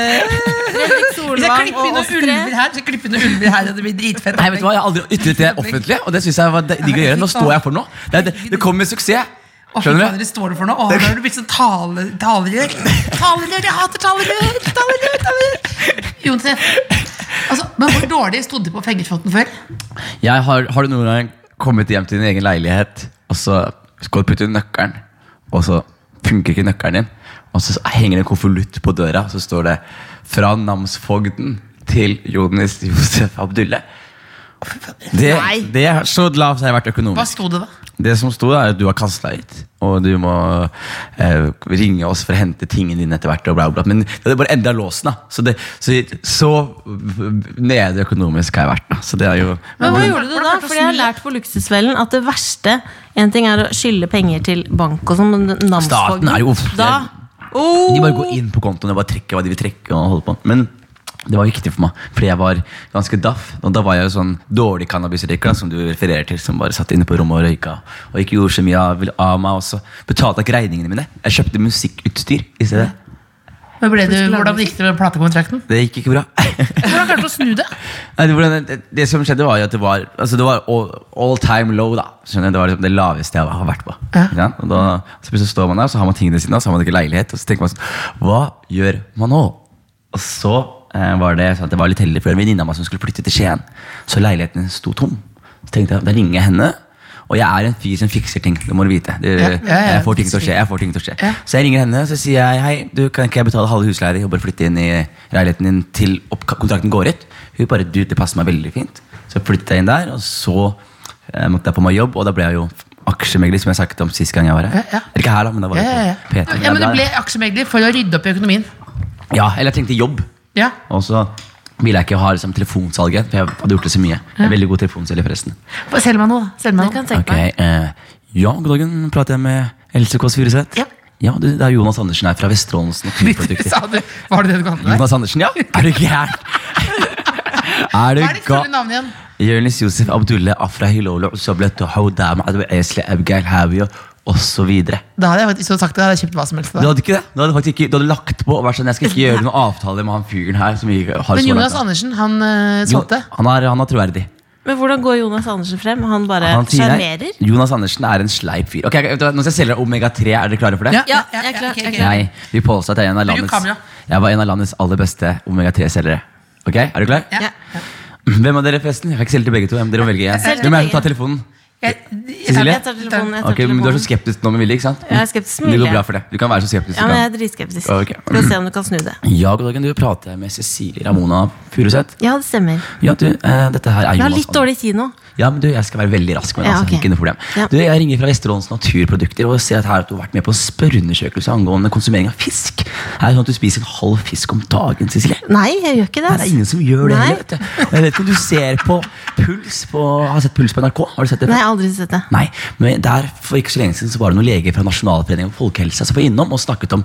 [SPEAKER 3] Fredrik
[SPEAKER 2] Hvis jeg
[SPEAKER 3] Solvang
[SPEAKER 2] klipper inn
[SPEAKER 3] og oss
[SPEAKER 2] noen
[SPEAKER 3] tre.
[SPEAKER 2] ulver her, så klipper vi noen ulver her, og det blir dritfett.
[SPEAKER 4] Nei, vet du hva, Jeg har aldri ytret det offentlig, og det syns jeg var digg å gjøre. Nå står jeg for noe. Det, er- det, det kommer med suksess.
[SPEAKER 2] Å, fy fader,
[SPEAKER 4] Skjønner du?
[SPEAKER 2] det står det for noe? Å, nå har du blitt sånn tale, talerør. Talerør, jeg hater talerør! Talerør, talerør! Jonsef, altså, men hvor dårlig stod du på Fengersfoten før?
[SPEAKER 4] Jeg har, har du noen gang kommet hjem til din egen leilighet, og så skal du putte inn nøkkelen, og så funker ikke nøkkelen din, og så henger det en konvolutt på døra, og så står det 'Fra namsfogden til Jonis Josef Abdulle'. Det, det er Så lavt har jeg vært økonomisk.
[SPEAKER 2] Hva stod det da?
[SPEAKER 4] Det som sto, da, er at du har kasta ut, og du må eh, ringe oss for å hente tingene dine etter hvert. Og bla, bla. bla. Men det hadde bare endra låsen, da. Så, det, så, så nede økonomisk har jeg vært. da Så det er jo
[SPEAKER 3] Men hva
[SPEAKER 4] Men-
[SPEAKER 3] gjorde du da? Fordi jeg har lært på Luksusfellen at det verste En ting er å skylde penger til bank og sånn, men namsfogden-
[SPEAKER 4] Staten er jo-
[SPEAKER 3] Da
[SPEAKER 4] De
[SPEAKER 3] oh,
[SPEAKER 4] bare går inn på kontoen og bare trekker hva de vil trekke. og holde på Men det var viktig for meg, fordi jeg var ganske daff. Og da var jeg jo sånn dårlig cannabisrøyker, da, som du refererer til, som bare satt inne på rommet og røyka. Og ikke gjorde så mye av, av meg også. Betalte ikke regningene mine. Jeg kjøpte musikkutstyr i stedet.
[SPEAKER 2] Men ble du, hvordan gikk det med platekontrakten?
[SPEAKER 4] Det gikk ikke bra.
[SPEAKER 2] Hvordan klarte du å snu det?
[SPEAKER 4] Nei, det, hvordan- det, det som skjedde var jo at det var, altså det var all, all time low da Skjønner du, det var liksom det laveste jeg har vært på
[SPEAKER 2] Ja.
[SPEAKER 4] Ikke sant? Og da, så plutselig står man der, så har man tingene sine Og så har man ikke leilighet, og så tenker man sånn Hva gjør man nå? Og så eh, var det sånn at jeg var litt heldig, for det var en venninne av meg som skulle flytte til Skien. Så leiligheten sto tom. Så tenkte jeg, da ringer jeg henne. Og jeg er en fyr som fikser ting. det må du vite det,
[SPEAKER 2] Ja, ja, ja.
[SPEAKER 4] Jeg får ting til å skje. jeg får ting til å skje Så jeg ringer henne så sier jeg, hei, du, kan ikke jeg betale halve husleia di og bare flytte inn i leiligheten din til opp kontrakten går ut? Hun bare du, det passer meg veldig fint. Så flyttet jeg inn der, og så eh, måtte jeg på meg jobb, og da ble jeg jo aksjemegler, som jeg snakket om sist gang jeg var her.
[SPEAKER 2] Ja, ja.
[SPEAKER 4] Eller Ikke her, da, men da var jeg
[SPEAKER 2] Ja, ja, ja.
[SPEAKER 4] på P3.
[SPEAKER 2] Ja, men
[SPEAKER 4] Ja,
[SPEAKER 2] Du
[SPEAKER 4] da-
[SPEAKER 2] ble aksjemegler for å rydde opp i økonomien.
[SPEAKER 4] ja, eller jeg trengte jobb.
[SPEAKER 2] Ja.
[SPEAKER 4] Og så ville jeg ikke ha liksom, telefonsalget, for jeg hadde gjort det så mye. Jeg er veldig god telefonselger, forresten.
[SPEAKER 2] Selg meg noe, da. Selg meg
[SPEAKER 3] Det
[SPEAKER 2] noe.
[SPEAKER 3] kan jeg tenke
[SPEAKER 4] Ok,
[SPEAKER 3] meg.
[SPEAKER 4] eh, ja, god dagen. Prater jeg med Else Kåss Furuseth?
[SPEAKER 2] Ja.
[SPEAKER 4] du, det er Jonas Andersen her fra Vesterålens Naturprodukter.
[SPEAKER 2] Sa du, var det det du kan handle der?
[SPEAKER 4] Jonas Andersen, ja? Er du gæren? er du
[SPEAKER 2] Hva er ditt fulle
[SPEAKER 4] gal?
[SPEAKER 2] navn igjen?
[SPEAKER 4] Jonis Josef Abdullah Afra Hilolo Usablet Haudam Adwe Esle Abgail Havio og så videre.
[SPEAKER 2] Da hadde jeg faktisk sagt det, da hadde jeg kjøpt hva som helst. til
[SPEAKER 4] Du
[SPEAKER 2] deg.
[SPEAKER 4] hadde ikke det? Du hadde faktisk ikke, du hadde lagt på og vært sånn Jeg skal ikke gjøre noen avtale med han fyren her. Som ikke har
[SPEAKER 2] Men
[SPEAKER 4] så
[SPEAKER 2] Jonas
[SPEAKER 4] langt.
[SPEAKER 2] Andersen, han uh,
[SPEAKER 4] Jo,
[SPEAKER 2] solgte.
[SPEAKER 4] han, er, han er troverdig.
[SPEAKER 3] Men hvordan går Jonas Andersen frem? Han bare
[SPEAKER 4] Han sier
[SPEAKER 3] Eh,
[SPEAKER 4] her,
[SPEAKER 3] sjarmerer?
[SPEAKER 4] Jonas Andersen er en sleip fyr. Ok, vet du hva, Nå skal jeg selge deg Omega-3. Er dere klare for det?
[SPEAKER 3] Ja, jeg er klar.
[SPEAKER 2] ok,
[SPEAKER 3] Jeg er
[SPEAKER 2] ok.
[SPEAKER 3] klar.
[SPEAKER 4] Nei, vi påstår at jeg er en av
[SPEAKER 2] Bruk kamera.
[SPEAKER 4] landets Jeg var en av landets aller beste omega-3-selgere. Ok, Er du klar?
[SPEAKER 2] Ja.
[SPEAKER 3] Ja.
[SPEAKER 4] Hvem av dere forresten? Jeg kan ikke selge til begge to. men Dere må velge en.
[SPEAKER 3] selger til
[SPEAKER 4] Hvem er det som
[SPEAKER 3] begge.
[SPEAKER 4] tar telefonen?
[SPEAKER 2] Jeg-
[SPEAKER 4] Cecilie?
[SPEAKER 3] Jeg tar telefonen. Jeg tar
[SPEAKER 4] Ok, men Du er
[SPEAKER 3] telefonen.
[SPEAKER 4] så skeptisk nå med vilje, ikke sant?
[SPEAKER 3] Jeg er skeptisk med
[SPEAKER 4] Det går
[SPEAKER 3] vilje.
[SPEAKER 4] bra for deg. Du kan være så skeptisk du
[SPEAKER 3] Ja, men jeg er
[SPEAKER 4] kan.
[SPEAKER 3] dritskeptisk.
[SPEAKER 4] Ok.
[SPEAKER 3] Skal vi se om du kan snu det.
[SPEAKER 4] Ja, god dagen, du prater jeg med Cecilie Ramona Furuseth.
[SPEAKER 3] Ja, det stemmer.
[SPEAKER 4] Ja, du, eh, dette her er
[SPEAKER 3] Vi har
[SPEAKER 4] Jonas
[SPEAKER 3] litt dårlig tid nå.
[SPEAKER 4] Ja, men du, jeg skal være veldig rask med det.
[SPEAKER 3] Ja,
[SPEAKER 4] altså,
[SPEAKER 3] ok.
[SPEAKER 4] Ikke noe problem.
[SPEAKER 3] Ja.
[SPEAKER 4] Du, jeg ringer fra Vesterålens Naturprodukter og ser at her at du har vært med på en spørreundersøkelse angående konsumering av fisk. Er det sånn at du spiser en halv fisk om dagen, Cecilie?
[SPEAKER 3] Nei, jeg gjør ikke det.
[SPEAKER 4] Nei, det er ingen som gjør det
[SPEAKER 3] Nei.
[SPEAKER 4] heller. vet du. Og jeg vet ikke om du ser på Puls på Har du sett Puls på NRK? Har du sett det?
[SPEAKER 3] Nei, jeg har aldri sett det.
[SPEAKER 4] Nei, men der For ikke så lenge siden så var det noen leger fra Nasjonalforeningen for folkehelse som var innom og snakket om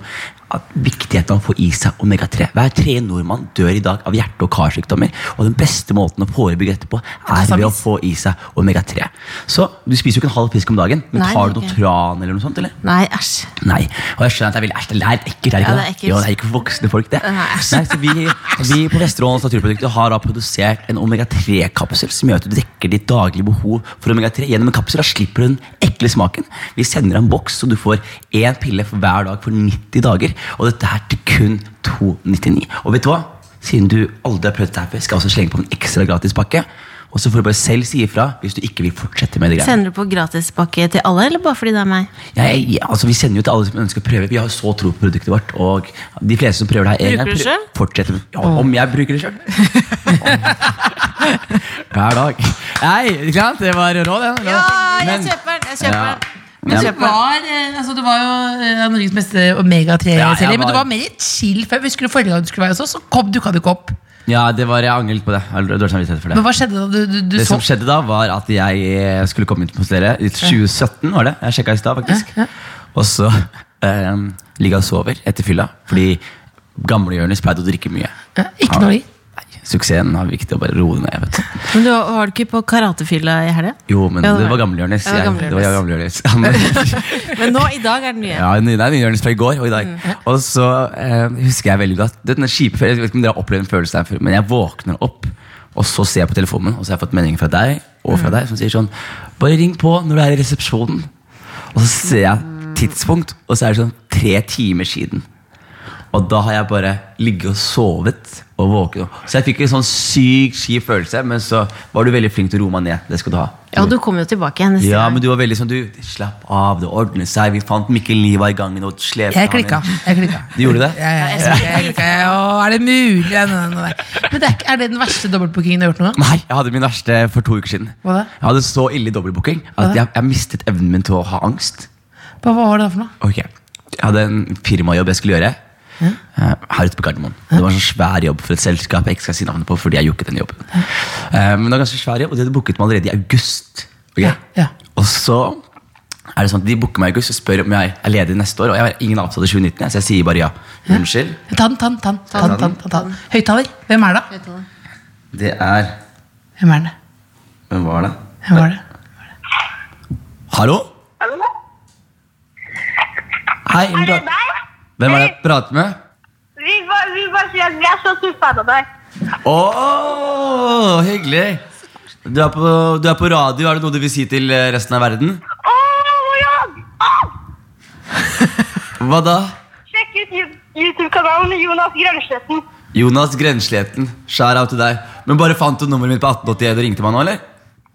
[SPEAKER 4] at viktigheten av å få i seg omega-3. Hver tredje nordmann dør i dag av hjerte- og karsykdommer. Og den beste måten å forebygge dette på, er ved å få i seg omega-3. Så du spiser jo ikke en halv fisk om dagen, men
[SPEAKER 3] Nei,
[SPEAKER 4] tar du
[SPEAKER 3] ok.
[SPEAKER 4] noe tran eller noe sånt? eller?
[SPEAKER 3] Nei, æsj.
[SPEAKER 4] Nei, og jeg skjønner at det er veldig ekkelt. Det er ekkelt, er det ikke
[SPEAKER 3] Ja, det er ekkelt.
[SPEAKER 4] Jo, det er ikke for voksne folk, det.
[SPEAKER 3] Nei.
[SPEAKER 4] Nei, så vi, vi på Vesterålens Naturprodukter har da produsert en omega-3-kapsel som gjør at du dekker ditt daglige behov for omega-3 gjennom en kapsel. Da slipper du den ekle smaken. Vi sender deg en boks, så du får én pille for hver dag for 90 dager. Og dette her til kun 2,99. Og vet du hva? Siden du aldri har prøvd dette her før, skal jeg også slenge på en ekstra gratis pakke. Og så får du bare selv si ifra hvis du ikke vil fortsette med det greiene.
[SPEAKER 3] Sender du på gratispakke til alle, eller bare fordi det er meg?
[SPEAKER 4] Jeg, ja, altså Vi sender jo til alle som ønsker å prøve. Vi har jo så tro på produktet vårt. Og de fleste som prøver det her
[SPEAKER 3] Bruker
[SPEAKER 4] en gang,
[SPEAKER 3] du
[SPEAKER 4] prø-
[SPEAKER 3] selv?
[SPEAKER 4] fortsetter med- ja, Om jeg bruker det sjøl? Hver dag. Nei, ikke sant? Det var rå, det. det var- Men-
[SPEAKER 3] kjøper den!
[SPEAKER 4] Ja.
[SPEAKER 2] Men
[SPEAKER 4] Ja.
[SPEAKER 2] det var, eh, altså, det var jo eh, Norges beste
[SPEAKER 4] Ja,
[SPEAKER 2] omega-3-serie,
[SPEAKER 4] jeg
[SPEAKER 2] men du var
[SPEAKER 4] var-
[SPEAKER 2] mer chill. For jeg husker det forrige gang du skulle være hos oss, så kom, dukka du ikke opp.
[SPEAKER 4] ja, det var, jeg angret på det. Jeg har dårlig samvittighet for det.
[SPEAKER 2] Men hva skjedde da du, du, du
[SPEAKER 4] Det
[SPEAKER 2] så
[SPEAKER 4] som skjedde da, var at jeg eh, skulle komme ut hos dere i 2017, var det. Jeg sjekka i stad, faktisk. Og så eh, ligger jeg og sover etter fylla, fordi gamle Jonis pleide å drikke mye.
[SPEAKER 2] Ja, Ikke noe i?
[SPEAKER 4] Nei, suksessen er viktig å bare roe ned. vet du
[SPEAKER 3] Men du var var du ikke på karatefylla i helga?
[SPEAKER 4] Jo, men
[SPEAKER 3] Ja,
[SPEAKER 4] det var gamle Jonis.
[SPEAKER 3] Ja, det var gamle
[SPEAKER 4] Jeg- Det var
[SPEAKER 3] Jonis.
[SPEAKER 4] gamle Jonis. Han-
[SPEAKER 3] Men nå, i dag er den nye.
[SPEAKER 4] Ja, det er nye Jonis fra i går og i dag. Og så eh, husker jeg veldig godt denne kjipe følelsen, Jeg vet ikke om dere har opplevd en følelse der før, men jeg våkner opp, og så ser jeg på telefonen, min, og så har jeg fått melding fra deg og fra deg som sier sånn Bare ring på når du er i resepsjonen. Og så ser jeg tidspunkt, og så er det sånn tre timer siden. Og da har jeg bare ligget og sovet og våket. Så jeg fikk en sånn sykt skip følelse, men så var du veldig flink til å roe meg ned. Det skal du ha.
[SPEAKER 3] Ja, du kommer jo tilbake igjen neste
[SPEAKER 4] Ja, men
[SPEAKER 3] gang.
[SPEAKER 4] du var veldig sånn du, Slapp av, det ordner seg. Vi fant Mikkel Niva i gangen og slepte
[SPEAKER 2] Jeg
[SPEAKER 4] han inn.
[SPEAKER 2] klikka. Jeg klikka.
[SPEAKER 4] Du gjorde det?
[SPEAKER 2] Ja, ja, ja, jeg klikka. Jeg, Å, er det mulig? Nei, nei, nei, nei. Men det er, ikke- er det den verste dobbeltbookingen du har gjort noen gang?
[SPEAKER 4] Nei, jeg hadde min verste for to uker siden.
[SPEAKER 2] Hva da?
[SPEAKER 4] Jeg hadde så ille dobbeltbooking at jeg, jeg mistet evnen min til å ha angst.
[SPEAKER 2] Hva hva var det da for noe?
[SPEAKER 4] Ok, Jeg hadde en firmajobb jeg skulle gjøre. eh, Her ute på Gardermoen. Det var en sånn svær jobb for et selskap jeg ikke skal si navnet på. fordi jeg gjorde ikke den jobben. Eh, Men det var ganske svær jobb, og de hadde booket meg allerede i august. Ok?
[SPEAKER 2] Ja, ja.
[SPEAKER 4] Og så er det sånn at de booker meg i august og spør om jeg er ledig neste år. Og jeg har ingen avtale i 2019, så jeg sier bare ja. Unnskyld.
[SPEAKER 2] Tann, tann, tann. tann, tann, tann, tann. Høyttaler. Hvem er det? da?
[SPEAKER 4] Det er
[SPEAKER 2] Hvem er det?
[SPEAKER 4] Hvem var det?
[SPEAKER 2] Hvem var det?
[SPEAKER 4] Hallo? Hei,
[SPEAKER 8] Er det
[SPEAKER 4] prat-
[SPEAKER 8] deg?
[SPEAKER 4] hvem er det jeg prater med?
[SPEAKER 8] Vi bare, vi bare sier at vi er så skuffa av deg.
[SPEAKER 4] Å, hyggelig! Du er, på, du er på radio. Er det noe du vil si til eh, resten av verden?
[SPEAKER 8] Å, Jan! Å!
[SPEAKER 4] Hva da?
[SPEAKER 8] Sjekk ut Yu- YouTube-kanalen Jonas Grønnsletten.
[SPEAKER 4] Jonas Grensleten, skjær av til deg. Men bare fant du nummeret mitt på 1881 og ringte meg nå, eller?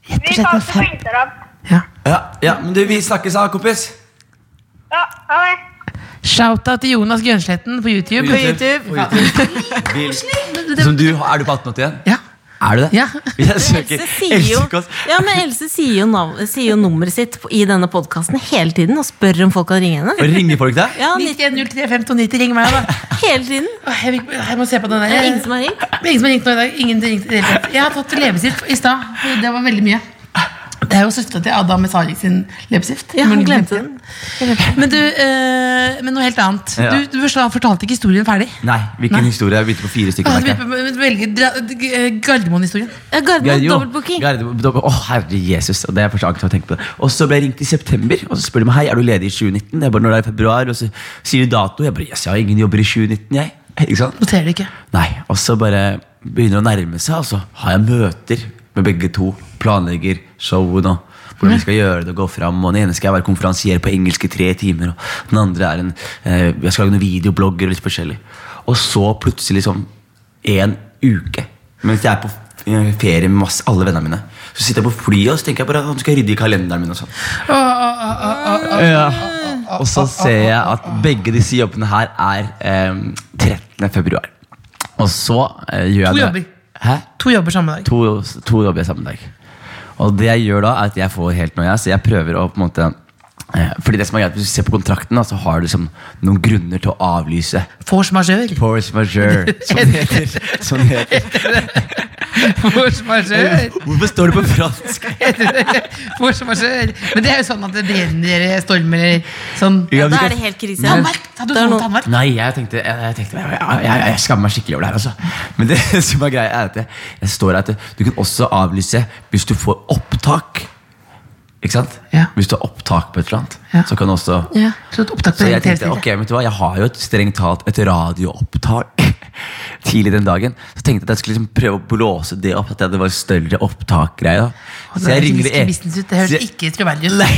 [SPEAKER 8] Vi
[SPEAKER 2] slett
[SPEAKER 8] fant det på
[SPEAKER 2] feil.
[SPEAKER 8] Instagram.
[SPEAKER 2] Ja.
[SPEAKER 4] Ja, ja men du, vi snakkes da, kompis.
[SPEAKER 8] Ja, ha det.
[SPEAKER 2] Shout-out til Jonas Grønsletten på YouTube.
[SPEAKER 4] På YouTube. På YouTube. Vil- Som du, er du på 1881?
[SPEAKER 2] Ja.
[SPEAKER 4] Er du det?
[SPEAKER 2] Ja.
[SPEAKER 4] Hvis jeg søker
[SPEAKER 3] Else sier jo,
[SPEAKER 4] Else Kåss
[SPEAKER 3] ja, men Else sier jo, navn, sier jo nummeret sitt på- i denne podkasten hele tiden og spør om folk kan ringe henne.
[SPEAKER 4] Og ringer folk deg?
[SPEAKER 3] Ja, nitt-
[SPEAKER 2] 91035290, ring meg, da.
[SPEAKER 3] hele tiden.
[SPEAKER 2] Åh, Jeg, vil- jeg må se på den der.
[SPEAKER 3] Det er ingen som har ringt.
[SPEAKER 2] Det er Ingen som har ringt nå i dag. Ingen som ringte i det hele tatt. Jeg har tatt leppestift i stad. for Det var veldig mye. Det er jo søstera til Adam Mezari sin leppestift.
[SPEAKER 3] Ja,
[SPEAKER 2] Men
[SPEAKER 3] hun
[SPEAKER 2] du
[SPEAKER 3] glemte den.
[SPEAKER 2] Men du, eh, men noe helt annet.
[SPEAKER 4] Ja.
[SPEAKER 2] Du, du forsta- fortalte ikke historien ferdig.
[SPEAKER 4] Nei, hvilken historie? Jeg begynte på fire stykker.
[SPEAKER 2] Altså,
[SPEAKER 4] merker
[SPEAKER 2] vi
[SPEAKER 4] jeg.
[SPEAKER 2] vi velger dra- g- eh, Gardermoen-historien.
[SPEAKER 3] Ja, Gardermoen,
[SPEAKER 4] Gardermoen.
[SPEAKER 3] dobbeltbooking.
[SPEAKER 4] Gardermoen, dobbel- Å, herre Jesus. Det er første angst å tenke på det. Og så ble jeg ringt i september, og så spør de meg hei, er du ledig i 2019. Jeg bare, når det er i februar, og så sier de dato. Jeg bare, yes, jeg har ingen jobber i 2019, jeg. Ikke sant?
[SPEAKER 2] Noterer du ikke?
[SPEAKER 4] Nei, og så bare begynner det å nærme seg, og så har jeg møter med begge to. Planlegger showen og hvordan vi skal gjøre det og gå fram. Og den ene skal jeg være konferansier på engelsk i tre timer, og den andre er en eh, Jeg skal lage noen videoblogger og litt forskjellig. Og så plutselig, sånn en uke, mens jeg er på eh, ferie med masse, alle vennene mine, så sitter jeg på flyet og så tenker jeg bare at nå skal jeg rydde i kalenderen min og sånn. Ja.
[SPEAKER 3] Ah,
[SPEAKER 4] Og så ser jeg at begge disse jobbene her er eh, 13. februar. Og så eh, gjør jeg
[SPEAKER 2] To
[SPEAKER 4] det.
[SPEAKER 2] jobber.
[SPEAKER 4] Hæ?
[SPEAKER 2] To jobber samme dag.
[SPEAKER 4] To, to jobber jeg samme dag. Og det jeg gjør da, er at jeg får helt noia, så jeg prøver å på en måte eh, fordi det som er greit, Hvis du ser på kontrakten, da, så har du liksom noen grunner til å avlyse.
[SPEAKER 2] Force majeure.
[SPEAKER 4] Force majeure, som det heter. Som det heter.
[SPEAKER 2] Force majeure.
[SPEAKER 4] Hvorfor står det på fransk?
[SPEAKER 2] Force majeure. Men det er jo sånn at det brenner stormer eller sånn.
[SPEAKER 3] Ja, da er det helt krise.
[SPEAKER 2] Tannverk! Hadde du
[SPEAKER 3] Det er
[SPEAKER 2] sånn
[SPEAKER 3] noe-
[SPEAKER 2] tannverk?
[SPEAKER 4] Nei, jeg tenkte, jeg, jeg, tenkte jeg, jeg, jeg skammer meg skikkelig over det her. Altså. Men det som er greia, er at jeg, jeg står her at du kan også avlyse hvis du får opptak. Ikke sant?
[SPEAKER 2] Ja.
[SPEAKER 4] Hvis du har opptak på et eller annet.
[SPEAKER 2] Ja.
[SPEAKER 4] Så kan du også
[SPEAKER 3] Ja.
[SPEAKER 2] Så et opptak på
[SPEAKER 4] Så jeg tenkte,
[SPEAKER 2] hele
[SPEAKER 4] ok, vet du hva, jeg har jo et strengt talt et radioopptak tidlig den dagen. Så tenkte jeg at jeg skulle liksom prøve å blåse det opp, at det var større opptak-greia.
[SPEAKER 2] Og
[SPEAKER 4] Så
[SPEAKER 2] det
[SPEAKER 4] jeg
[SPEAKER 2] høres
[SPEAKER 4] ringer E.
[SPEAKER 2] ikke business ut, Det
[SPEAKER 4] så
[SPEAKER 2] høres
[SPEAKER 4] jeg-
[SPEAKER 2] ikke troverdig ut.
[SPEAKER 4] Nei,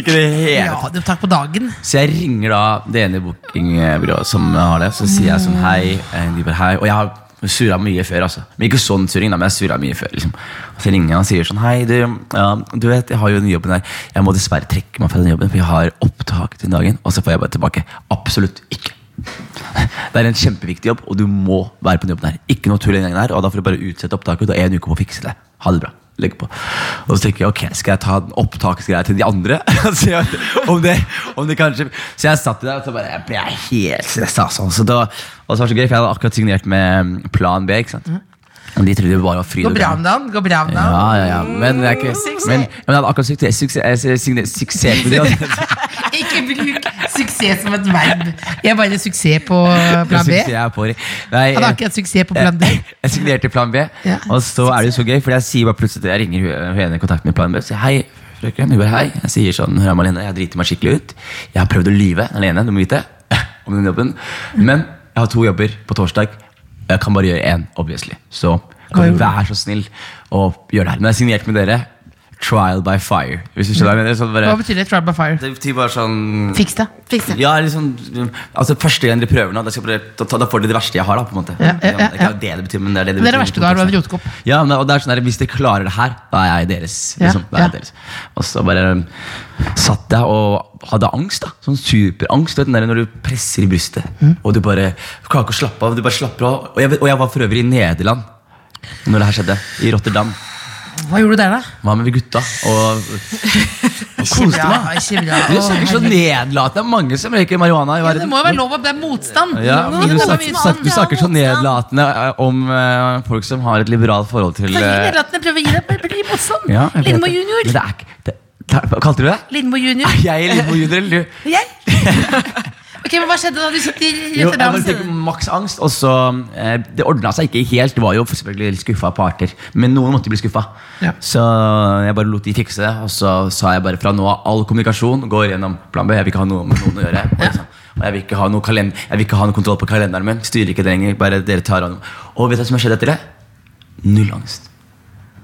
[SPEAKER 4] ikke det hele tatt.
[SPEAKER 2] Radiotak på dagen.
[SPEAKER 4] Så jeg ringer da det ene bookingbyrået som har det, så sier jeg sånn hei. eh, De bare hei. Og jeg har surra mye før, altså. Men ikke sånn surring, da, men jeg har surret mye før. liksom. Og så ringer jeg og sier sånn hei, du, ja, du vet, jeg har jo den jobben her. Jeg må dessverre trekke meg fra den jobben, for jeg har opptak den dagen. Og så får jeg bare tilbake. Absolutt ikke. Det er en kjempeviktig jobb, og du må være på den jobben her. Ikke noe tull den gangen her, og da får du bare utsette opptaket. Du har en uke på å fikse det. Ha det bra. Legg på. Og så tenker jeg, ok, skal jeg ta den opptaksgreia til de andre? Og se om det, om det kanskje... Så jeg satt der, og så bare, jeg ble helt stressa. Altså. Så da, og så var det så gøy, for jeg hadde akkurat signert med mm, Plan B, ikke sant? Og de trodde det bare var fryd
[SPEAKER 2] Går
[SPEAKER 4] og
[SPEAKER 2] bra
[SPEAKER 4] gammen.
[SPEAKER 2] med dagen. Går bra med dagen.
[SPEAKER 4] Ja, ja, ja. Men, det er ikke, men, men jeg hadde akkurat suksess, suksess, suksess, suksess med det. altså.
[SPEAKER 2] Ikke bruk suksess som et verb. Jeg bare suksess på plan B.
[SPEAKER 4] Suksess er på- Nei,
[SPEAKER 2] Hadde akkurat suksess på plan D.
[SPEAKER 4] Jeg jeg signerte plan B,
[SPEAKER 2] Ja.
[SPEAKER 4] og så er det jo så gøy, for jeg sier bare plutselig Jeg ringer hun- hun ene i kontakt med plan B og sier hei. Frøken, hun bare hei. Jeg sier sånn, hør Malene, jeg driter meg skikkelig ut. Jeg har prøvd å lyve alene, du må vite, om den jobben. Men jeg har to jobber på torsdag. Jeg kan bare gjøre én, obviously. Så kan du være så snill å gjøre det her. Men jeg signerte med dere. Trial by fire. Hvis du skjønner hva jeg mener. Sånn
[SPEAKER 2] Hva
[SPEAKER 4] bare,
[SPEAKER 2] betyr det? Trial by fire.
[SPEAKER 4] det betyr bare sånn
[SPEAKER 2] Fiks det.
[SPEAKER 3] Fiks det.
[SPEAKER 4] ja, liksom, altså Første gang dere prøver nå, da, skal dere, da, da får dere det verste jeg har. da, på en måte
[SPEAKER 2] Ja, ja, ja,
[SPEAKER 4] Det er ikke det det betyr, men det er det det
[SPEAKER 2] Det er
[SPEAKER 4] betyr.
[SPEAKER 2] det verste du har, du har en rotekopp.
[SPEAKER 4] Ja, men, og det er sånn der, Hvis dere klarer det her, da er jeg deres. Liksom,
[SPEAKER 2] Ja,
[SPEAKER 4] da er jeg
[SPEAKER 2] ja.
[SPEAKER 4] deres. Og så bare um, satt jeg og hadde angst. da Sånn superangst. Du vet, den der, når du presser i brystet,
[SPEAKER 2] Mm.
[SPEAKER 4] og du bare klarer ikke å slappe av. Du bare slapper av Og jeg, vet- og jeg var for øvrig i Nederland når det her skjedde. I Rotterdam.
[SPEAKER 2] Hva gjorde du der, da?
[SPEAKER 4] Hva med vi gutta? Og, og koste meg.
[SPEAKER 2] Ikke bra.
[SPEAKER 4] Du ser ikke
[SPEAKER 2] Å,
[SPEAKER 4] så
[SPEAKER 2] herregud.
[SPEAKER 4] nedlatende. Det er mange som røyker marihuana i
[SPEAKER 2] Ja,
[SPEAKER 4] verden.
[SPEAKER 2] det må jo være lov å Det er motstand.
[SPEAKER 4] Ja,
[SPEAKER 2] Nå
[SPEAKER 4] men
[SPEAKER 2] må
[SPEAKER 4] du
[SPEAKER 2] det
[SPEAKER 4] snakker,
[SPEAKER 2] være
[SPEAKER 4] du snakker, du
[SPEAKER 2] motstand.
[SPEAKER 4] snakker så nedlatende eh, om eh, folk som har et liberalt forhold til
[SPEAKER 2] Så gi
[SPEAKER 4] eh,
[SPEAKER 2] nedlatende, prøv å gi deg bare bli motstand.
[SPEAKER 4] ja, jeg vet
[SPEAKER 2] Lindmo
[SPEAKER 4] det.
[SPEAKER 2] junior.
[SPEAKER 4] Men det er ikke det, det, Hva kalte du det?
[SPEAKER 2] Lindmo junior.
[SPEAKER 4] Er Jeg Lindmo junior, eller du?
[SPEAKER 2] Jeg? Ok, men Hva skjedde da du sitter i
[SPEAKER 4] Jo, jeg bare fikk
[SPEAKER 2] Rotterdam?
[SPEAKER 4] maks angst, og så eh, Det ordna seg ikke helt. Det var jo selvfølgelig skuffa parter, men noen måtte bli skuffa.
[SPEAKER 2] Ja.
[SPEAKER 4] Så jeg bare lot de fikse det, og så sa jeg bare fra nå av all kommunikasjon går gjennom plan B. Jeg vil ikke ha noe med noen å gjøre. Og, sånn. og jeg, vil ikke ha noe kalend- jeg vil ikke ha noe kontroll på kalenderen min. Styrer ikke det lenger. Bare dere tar av noe. Og vet du hva som har skjedd etter det? Null angst.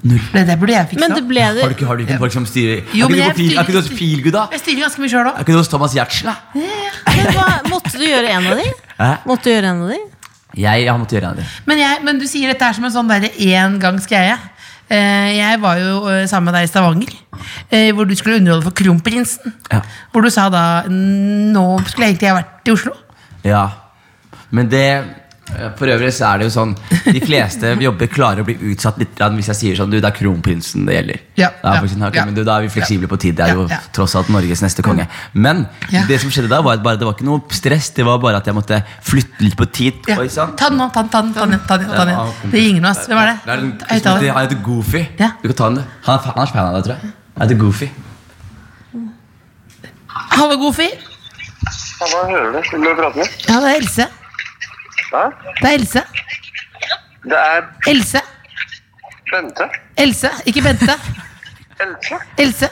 [SPEAKER 2] Det der burde jeg fiksa.
[SPEAKER 3] Men det ble
[SPEAKER 4] Har du
[SPEAKER 3] det
[SPEAKER 4] ikke, har du ikke folk som styrer
[SPEAKER 2] Jo,
[SPEAKER 4] Er
[SPEAKER 2] men
[SPEAKER 4] ikke du
[SPEAKER 2] jeg
[SPEAKER 4] på feel- Er ikke du
[SPEAKER 2] styrer-
[SPEAKER 4] hos Feelgood, da?
[SPEAKER 2] Jeg styrer ganske mye sjøl òg.
[SPEAKER 4] Er ikke du hos Thomas Giertsen, da?
[SPEAKER 3] Men hva- Måtte du gjøre en av de?
[SPEAKER 4] Hæ?
[SPEAKER 3] Måtte du gjøre en av de?
[SPEAKER 4] Jeg har måttet gjøre en av de.
[SPEAKER 2] Men, jeg, men du sier dette er som en sånn derre engangsgreie. Eh, jeg var jo eh, sammen med deg i Stavanger, eh, hvor du skulle underholde for Kronprinsen.
[SPEAKER 4] Ja.
[SPEAKER 2] Hvor du sa da Nå skulle jeg egentlig ha vært i Oslo.
[SPEAKER 4] Ja. Men det eh, For øvrig så er det jo sånn De fleste jobber klarer å bli utsatt litt grann hvis jeg sier sånn Du, det er kronprinsen det gjelder.
[SPEAKER 2] Ja,
[SPEAKER 4] Da er
[SPEAKER 2] ja,
[SPEAKER 4] folk sånn, «Ok,
[SPEAKER 2] ja.
[SPEAKER 4] men du, da er vi fleksible på tid. Det er
[SPEAKER 2] Ja,
[SPEAKER 4] jo
[SPEAKER 2] ja.
[SPEAKER 4] tross alt Norges neste konge. Men
[SPEAKER 2] Ja.
[SPEAKER 4] det som skjedde da, var at bare, det var ikke noe stress. Det var bare at jeg måtte flytte litt på tid.
[SPEAKER 2] Ja.
[SPEAKER 4] Oi, sant?
[SPEAKER 2] Ta den nå. Ta den, ta den, ta den, ta den, ta den.
[SPEAKER 4] Ja, kompis.
[SPEAKER 2] Det ringer oss. Hvem er
[SPEAKER 4] Det er
[SPEAKER 2] det?
[SPEAKER 4] en,
[SPEAKER 2] Høyttaler.
[SPEAKER 4] han heter Goofy.
[SPEAKER 2] Ja.
[SPEAKER 4] Du kan ta den, du. Han er, han er fan av deg, tror jeg. Han heter Goofy.
[SPEAKER 2] Hallo, Gofi.
[SPEAKER 9] Hva hører du? Vil du prate med?
[SPEAKER 2] Ja, det er Else.
[SPEAKER 9] Hæ?
[SPEAKER 2] Det er Else.
[SPEAKER 9] Det er
[SPEAKER 2] Else.
[SPEAKER 9] Bente.
[SPEAKER 2] Else. Ikke Bente.
[SPEAKER 9] Else?
[SPEAKER 2] Else.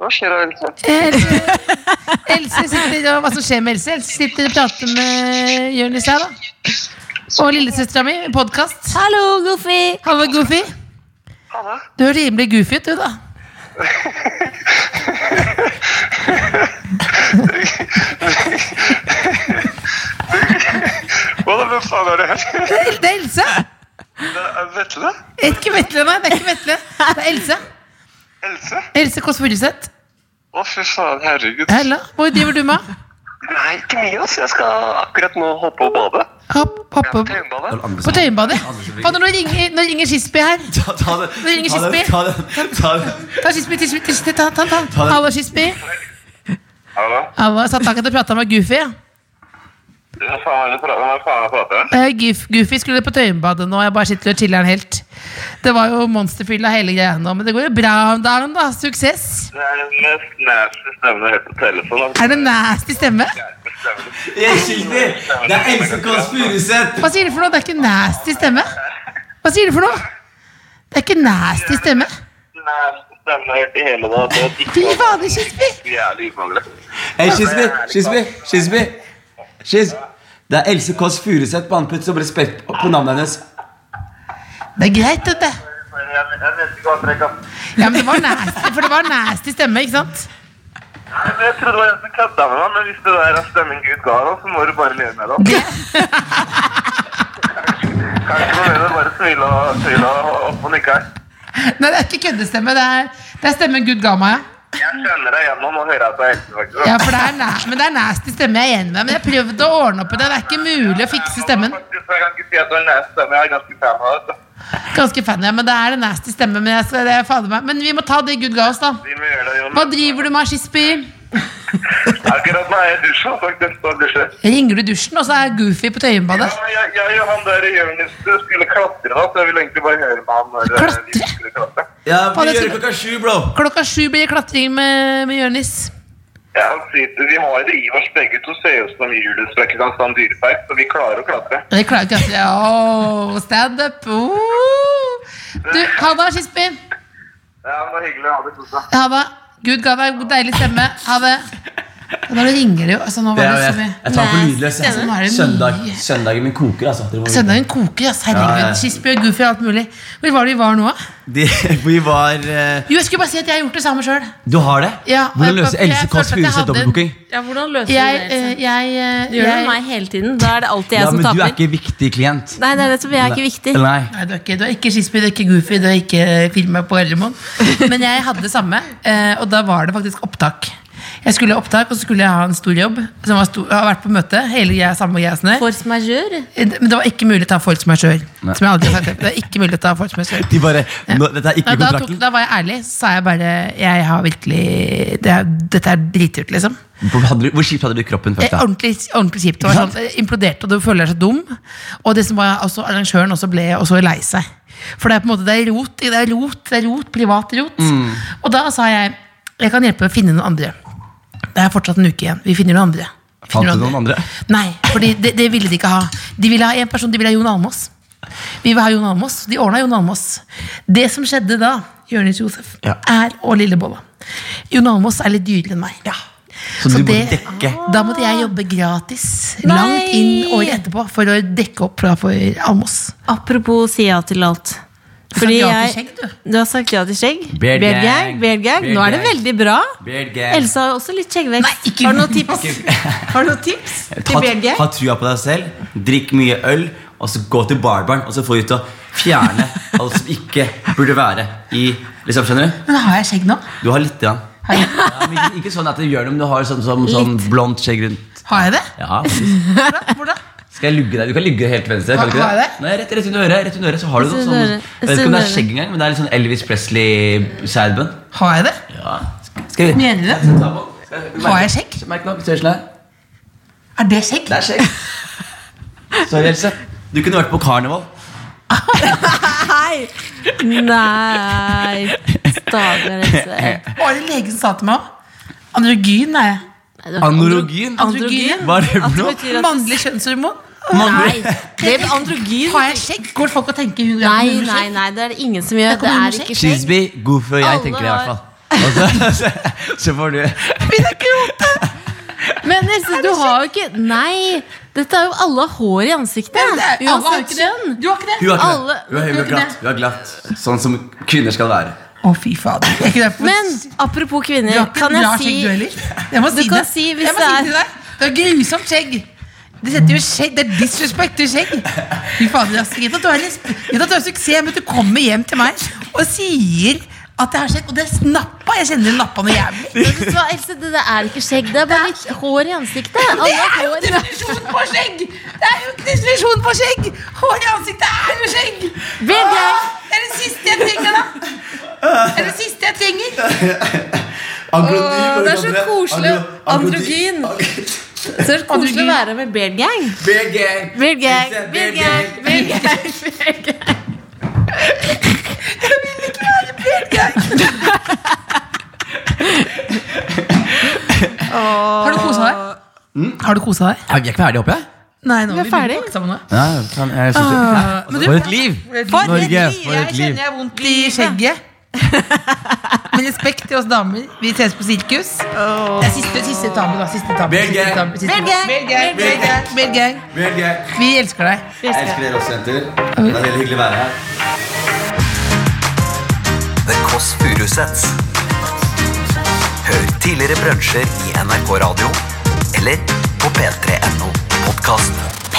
[SPEAKER 9] Hva skjer da, Else?
[SPEAKER 2] Else, Eh, Else sitter, og Hva som skjer med Else? Else sitter og prater med Jonis her, da. Og lillesøstera mi. Podkast.
[SPEAKER 3] Hallo, Goofy!
[SPEAKER 2] Hallo, Goofy. Du er rimelig goofy ut, du, da.
[SPEAKER 9] Hva da, hvem faen er det her?
[SPEAKER 2] Det er Else.
[SPEAKER 9] Det er Vetle?
[SPEAKER 2] Det er Ikke Vetle, nei. Det er ikke Vetle. Det er Else.
[SPEAKER 9] Else?
[SPEAKER 2] Else Kåss Furuseth.
[SPEAKER 9] Å, fy faen, herregud.
[SPEAKER 2] Hallo. Hvor driver du med?
[SPEAKER 9] Nei, ikke mye, ass. Jeg skal akkurat nå hoppe og bade.
[SPEAKER 2] Hopp,
[SPEAKER 9] Jeg er
[SPEAKER 2] hoppe
[SPEAKER 9] på Tøyenbadet.
[SPEAKER 2] på Tøyenbadet. Fader, Nå ringer, nå ringer Skisby her.
[SPEAKER 4] Ta, ta den.
[SPEAKER 2] Nå ringer
[SPEAKER 4] Ta den.
[SPEAKER 2] Skisby.
[SPEAKER 4] Ta den. Ta den.
[SPEAKER 2] Ta Skisby, Skisby, Skisby, ta, ta, ta.
[SPEAKER 4] den.
[SPEAKER 2] Hallo, Skisby.
[SPEAKER 9] Hallo?
[SPEAKER 2] Hallo, satt akkurat og prata med Goofy. ja.
[SPEAKER 9] Hva faen er det pra- hva faen er det prater om?
[SPEAKER 2] Eh, Goof- Goofy skulle på Tøyenbadet nå, jeg bare sitter og chiller'n helt. Det var jo monsterfyll av hele greia nå, men det går jo bra om dagen, da. Suksess.
[SPEAKER 9] Det er den mest nasty stemmen jeg har hørt på telefonen.
[SPEAKER 2] Er det nasty stemme?
[SPEAKER 4] Jeg er skyldig! Det er Else Kåss Furuseth!
[SPEAKER 2] Hva sier du for noe? Det er ikke nasty stemme. Hva sier du for noe? Det er ikke nasty stemme.
[SPEAKER 9] Nasty stemmen jeg har hørt i hele dag. Det er
[SPEAKER 2] Fy fader, Skisby.
[SPEAKER 9] Jævlig ubehagelig.
[SPEAKER 4] Hei, Skisby! Skisby! Skisby! Skis. Det er Else Kåss Furuseth på anputt som respekt på navnet hennes.
[SPEAKER 2] Det er greit, dette.
[SPEAKER 9] Jeg jeg vet ikke hva jeg trekker.
[SPEAKER 2] Ja, men det var nasty, for det var nasty stemme, ikke sant?
[SPEAKER 9] Nei, men Jeg trodde det var jeg som kødda med meg, men hvis det der er stemmen Gud ga deg, så må du bare leve med det. Kanskje noe med det, bare smile og smile og opp og nikke her.
[SPEAKER 2] Nei, det er ikke køddestemme. Det er, det er stemmen Gud ga meg. ja.
[SPEAKER 9] Jeg kjenner deg gjennom og hører at du er helse, faktisk.
[SPEAKER 2] Ja, for det er, na- men det er nasty stemme jeg er enig med. Men jeg prøvde å ordne opp i det. Det er ikke mulig å fikse stemmen.
[SPEAKER 9] Faktisk, Jeg kan ikke si at du er næst stemme, jeg er ganske fan av det. så.
[SPEAKER 2] Ganske fan, ja, men det er en nasty stemme. Men, jeg skal, det er fader meg. men vi må ta det Gud ga oss, da.
[SPEAKER 9] Vi må gjøre det, Jon.
[SPEAKER 2] Hva driver du med, Skisby?
[SPEAKER 9] Akkurat nå er jeg i dusjen, faktisk. Og dusjer.
[SPEAKER 2] Ringer du dusjen, og så er Goofy på
[SPEAKER 9] Ja,
[SPEAKER 2] Tøyenbadet?
[SPEAKER 9] men jeg, jeg og han der i Jonis skulle klatre, da, så jeg ville egentlig bare høre med han når eh, vi
[SPEAKER 2] Klatre?
[SPEAKER 9] skulle klatre.
[SPEAKER 4] Ja,
[SPEAKER 2] Faen, jeg
[SPEAKER 4] gjør det
[SPEAKER 2] trodde-
[SPEAKER 4] klokka sju, bro!
[SPEAKER 2] Klokka sju blir det klatring med, med Jonis.
[SPEAKER 9] Ja, han sier- vi har det i oss begge to, ser ut som Julius fra Kristiansand dyrepark, så vi klarer å klatre.
[SPEAKER 2] Jeg klarer ikke å oh, Standup! Oh. Du, ha det, Skisby.
[SPEAKER 9] Ja, men det var hyggelig å ha det kosa.
[SPEAKER 2] Ha det. Gud ga deg god, deilig stemme. Ha det. Og da ringer det jo. Altså, nå
[SPEAKER 4] Det
[SPEAKER 2] var
[SPEAKER 4] er,
[SPEAKER 2] det
[SPEAKER 4] jeg,
[SPEAKER 2] så mye.
[SPEAKER 4] jeg tar den på
[SPEAKER 3] Nei,
[SPEAKER 4] lydløs.
[SPEAKER 2] stemmer. Nå er det
[SPEAKER 4] jeg.
[SPEAKER 2] mye.
[SPEAKER 4] Søndag, søndagen min koker, altså. Dere må vite.
[SPEAKER 2] Søndagen koker, ass.
[SPEAKER 4] Ja, ja.
[SPEAKER 2] Herregud. Skisby og Goofy og alt mulig. Hvor var det vi var nå? da?
[SPEAKER 4] De, vi var eh,
[SPEAKER 2] Jo, jeg skulle bare si at jeg har gjort det samme sjøl.
[SPEAKER 4] Du har det?
[SPEAKER 2] Ja,
[SPEAKER 4] Hvordan
[SPEAKER 2] jeg-
[SPEAKER 4] løser
[SPEAKER 2] jeg
[SPEAKER 4] Else Kåss
[SPEAKER 2] følte at jeg
[SPEAKER 4] Furuseth
[SPEAKER 2] hadde-
[SPEAKER 4] dobbeltbooking?
[SPEAKER 3] Ja, hvordan løser
[SPEAKER 2] Jeg,
[SPEAKER 3] du det?
[SPEAKER 2] eh, jeg, eh,
[SPEAKER 3] Du gjør det
[SPEAKER 2] jeg
[SPEAKER 3] med meg hele tiden. Da er det alltid jeg
[SPEAKER 4] Ja,
[SPEAKER 3] som
[SPEAKER 4] men du
[SPEAKER 3] taper.
[SPEAKER 4] er ikke viktig klient.
[SPEAKER 3] Nei, det er nettopp. Jeg er ikke viktig.
[SPEAKER 4] Nei.
[SPEAKER 2] Nei, du er ikke, du er ikke Skisby, du er ikke Goofy, du er ikke firma på Ellermoen. Men jeg hadde det samme, eh, og da var det faktisk opptak. Jeg skulle ha opptak, og så skulle jeg ha en stor jobb. Som var stor, har vært på møte, hele greia, samme greia som det. Eh,
[SPEAKER 3] Force majeure.
[SPEAKER 2] Men det var ikke mulig å ta folk som er sjøl.
[SPEAKER 4] Nei.
[SPEAKER 2] Som jeg aldri har sagt. Det er ikke mulig å ta folk som er sjøl.
[SPEAKER 4] De bare nå, Dette er ikke
[SPEAKER 2] Nei, da, tok,
[SPEAKER 4] kontrakten.
[SPEAKER 2] da var jeg ærlig, så sa jeg bare Jeg har virkelig det er, Dette er dritdyrt, liksom.
[SPEAKER 4] Hvor hadde du- Hvor kjipt hadde du kroppen
[SPEAKER 2] Eh,
[SPEAKER 4] først, da?
[SPEAKER 2] Ordentlig, ordentlig kjipt. Det var sånn, eh, imploderte, og du føler deg så dum. Og det som var, også, arrangøren også ble også lei seg. For det er på en måte det er rot, det er rot, det er rot privat rot.
[SPEAKER 4] Mm.
[SPEAKER 2] Og da sa jeg jeg kan hjelpe å finne noen andre. Det er fortsatt en uke igjen. Vi finner noen andre. Vi
[SPEAKER 4] Fant
[SPEAKER 2] finner
[SPEAKER 4] du noen andre?
[SPEAKER 2] Nei, for det, det ville de ikke ha. De ville ha en person, de ville ha Jon Almaas. Vi vil ha Jon Almaas. De ordna Jon Almaas. Det som skjedde da, Jonis Josef,
[SPEAKER 4] Ja.
[SPEAKER 2] er og Lillebolla. Jon Almaas er litt dyrere enn meg.
[SPEAKER 4] Så du må
[SPEAKER 2] det-
[SPEAKER 4] dekke.
[SPEAKER 2] Da måtte jeg jobbe gratis
[SPEAKER 3] Nei!
[SPEAKER 2] langt inn året etterpå for å dekke opp fra for Almaas.
[SPEAKER 3] Apropos si ja til alt. Fordi
[SPEAKER 6] ja til
[SPEAKER 3] jeg,
[SPEAKER 6] skjegg, du.
[SPEAKER 3] du har sagt ja til skjegg.
[SPEAKER 4] Beard gang.
[SPEAKER 3] beard gang.
[SPEAKER 4] Beard
[SPEAKER 3] Nå er det
[SPEAKER 4] gang.
[SPEAKER 3] veldig bra.
[SPEAKER 4] Beard gang.
[SPEAKER 3] Elsa har også litt
[SPEAKER 6] Nei,
[SPEAKER 3] skjeggvekst.
[SPEAKER 6] ikke-
[SPEAKER 3] Har du noen tips? Har du noen tips
[SPEAKER 4] Ta,
[SPEAKER 3] til beard gang?
[SPEAKER 4] ha trua på deg selv, drikk mye øl, og så gå til barbaren og så få de til å fjerne alt som ikke burde være i liksom, Skjønner du?
[SPEAKER 6] Men har jeg skjegg nå?
[SPEAKER 4] Du har litt. grann. Ja, men ikke, ikke sånn at du gjør det, men du har sånn, sånn, sånn blondt skjegg rundt.
[SPEAKER 6] Har jeg det?
[SPEAKER 4] Ja, faktisk. Skal jeg lugge deg? Du kan lugge helt venstre. Kan du ikke
[SPEAKER 6] Har
[SPEAKER 4] det?
[SPEAKER 6] jeg
[SPEAKER 4] Nei, rett, rett under øret. Rett under øret så har du noe
[SPEAKER 3] Rett
[SPEAKER 4] sånn,
[SPEAKER 3] under øret.
[SPEAKER 4] jeg vet ikke om det er
[SPEAKER 3] Rett under
[SPEAKER 4] skjegg engang, men det er litt sånn Elvis Presley-sædbønn.
[SPEAKER 6] Har jeg det?
[SPEAKER 4] Ja. Skal vi
[SPEAKER 6] Mener du det?
[SPEAKER 4] ta på? Skal-
[SPEAKER 6] Har jeg skjegg?
[SPEAKER 4] Merk nå, størrelsen sånn her.
[SPEAKER 6] Er det skjegg?
[SPEAKER 4] Det er skjegg. Sorry, Else. Du kunne vært på karneval.
[SPEAKER 3] Nei, stakkar Else.
[SPEAKER 6] Var det legen som sa til meg også? Androgyn er jeg.
[SPEAKER 4] Anorogyn?
[SPEAKER 6] Androgyn?
[SPEAKER 4] Hva er det for noe?
[SPEAKER 3] betyr at-
[SPEAKER 6] Mannlig kjønnshormon?
[SPEAKER 4] Mannlig-
[SPEAKER 3] Nei, det er androgyn.
[SPEAKER 6] Har jeg skjegg? Går folk og tenker hun
[SPEAKER 3] Nei, nei, nei, det er det ingen som gjør. Det
[SPEAKER 6] Det kommer
[SPEAKER 3] er
[SPEAKER 6] under
[SPEAKER 3] ikke skjegg.
[SPEAKER 4] Cheeseby, god før jeg,
[SPEAKER 3] Alle
[SPEAKER 4] tenker jeg i
[SPEAKER 3] har-
[SPEAKER 4] hvert fall. Og så, så får du
[SPEAKER 3] Men Else, du har jo ikke Nei! Dette er jo alle hår i ansiktet. Uansett kjønn.
[SPEAKER 6] Du har ikke det?
[SPEAKER 4] Hun har ikke
[SPEAKER 3] Alle-
[SPEAKER 4] det. Hun er, hun er glatt. Hun er glatt. Sånn som kvinner skal være.
[SPEAKER 6] Å, fy fader. Jeg er ikke der for-
[SPEAKER 3] Men apropos
[SPEAKER 6] Du har
[SPEAKER 3] kvinner,
[SPEAKER 6] ikke
[SPEAKER 3] kan
[SPEAKER 6] bra
[SPEAKER 3] jeg si
[SPEAKER 6] skjegg, du heller. Jeg må
[SPEAKER 3] Du
[SPEAKER 6] si
[SPEAKER 3] kan
[SPEAKER 6] det.
[SPEAKER 3] si hvis
[SPEAKER 6] jeg må
[SPEAKER 3] det
[SPEAKER 6] si
[SPEAKER 3] er-
[SPEAKER 6] til deg. Du har grusomt skjegg. Det setter jo skjegg Det er disrespect til skjegg. Fy fader, Astrid. Gitt at du har en- gitt at du har suksess med at du kommer hjem til meg og sier at jeg har skjegg. Og det er nappa. Jeg kjenner nappa noe jævlig.
[SPEAKER 3] Vet du hva, Else, det der er ikke skjegg, det er bare litt hår i ansiktet. Alle
[SPEAKER 6] Det er
[SPEAKER 3] har
[SPEAKER 6] jo
[SPEAKER 3] hår i
[SPEAKER 6] definisjonen på skjegg! Det er jo definisjonen på skjegg! Hår i ansiktet er jo skjegg! Ah!
[SPEAKER 3] Veldig.
[SPEAKER 6] Åh, Det er det siste jeg trenger, da. Det er det siste jeg trenger.
[SPEAKER 3] Åh, det er så koselig. Androgyn. Så det er koselig å være med Beard Gang.
[SPEAKER 4] Beard gang.
[SPEAKER 3] Beard Gang, Beard Gang, Beard Gang.
[SPEAKER 6] Har du kosa deg? Har du kosa deg?
[SPEAKER 4] Er vi ikke ferdige, håper jeg?
[SPEAKER 6] Nei, nå
[SPEAKER 3] Vi er
[SPEAKER 6] begynner
[SPEAKER 3] ferdig.
[SPEAKER 6] pakke sammen nå.
[SPEAKER 4] Ja, kan- jeg synes det.
[SPEAKER 3] Ah,
[SPEAKER 6] men du-
[SPEAKER 4] For et liv!
[SPEAKER 6] For et
[SPEAKER 4] Norge,
[SPEAKER 6] liv!
[SPEAKER 4] for
[SPEAKER 6] Jeg
[SPEAKER 4] et liv.
[SPEAKER 6] kjenner jeg har vondt i skjegget. Med respekt til oss damer. Vi ses på sirkus. Det er siste, siste tabu, da. Siste tabu.
[SPEAKER 4] Bear
[SPEAKER 6] Siste
[SPEAKER 4] gang.
[SPEAKER 6] tabu, siste
[SPEAKER 3] Bear
[SPEAKER 6] tabu.
[SPEAKER 3] gang.
[SPEAKER 6] Bear gang,
[SPEAKER 3] Bear
[SPEAKER 6] bear gang, bear gang.
[SPEAKER 4] Beard gang.
[SPEAKER 6] Vi elsker deg.
[SPEAKER 4] Jeg elsker dere også, jenter. Det er veldig hyggelig å være her.
[SPEAKER 1] The Kåss Furuseths. Hør tidligere brunsjer i NRK Radio eller på p3.no podkast.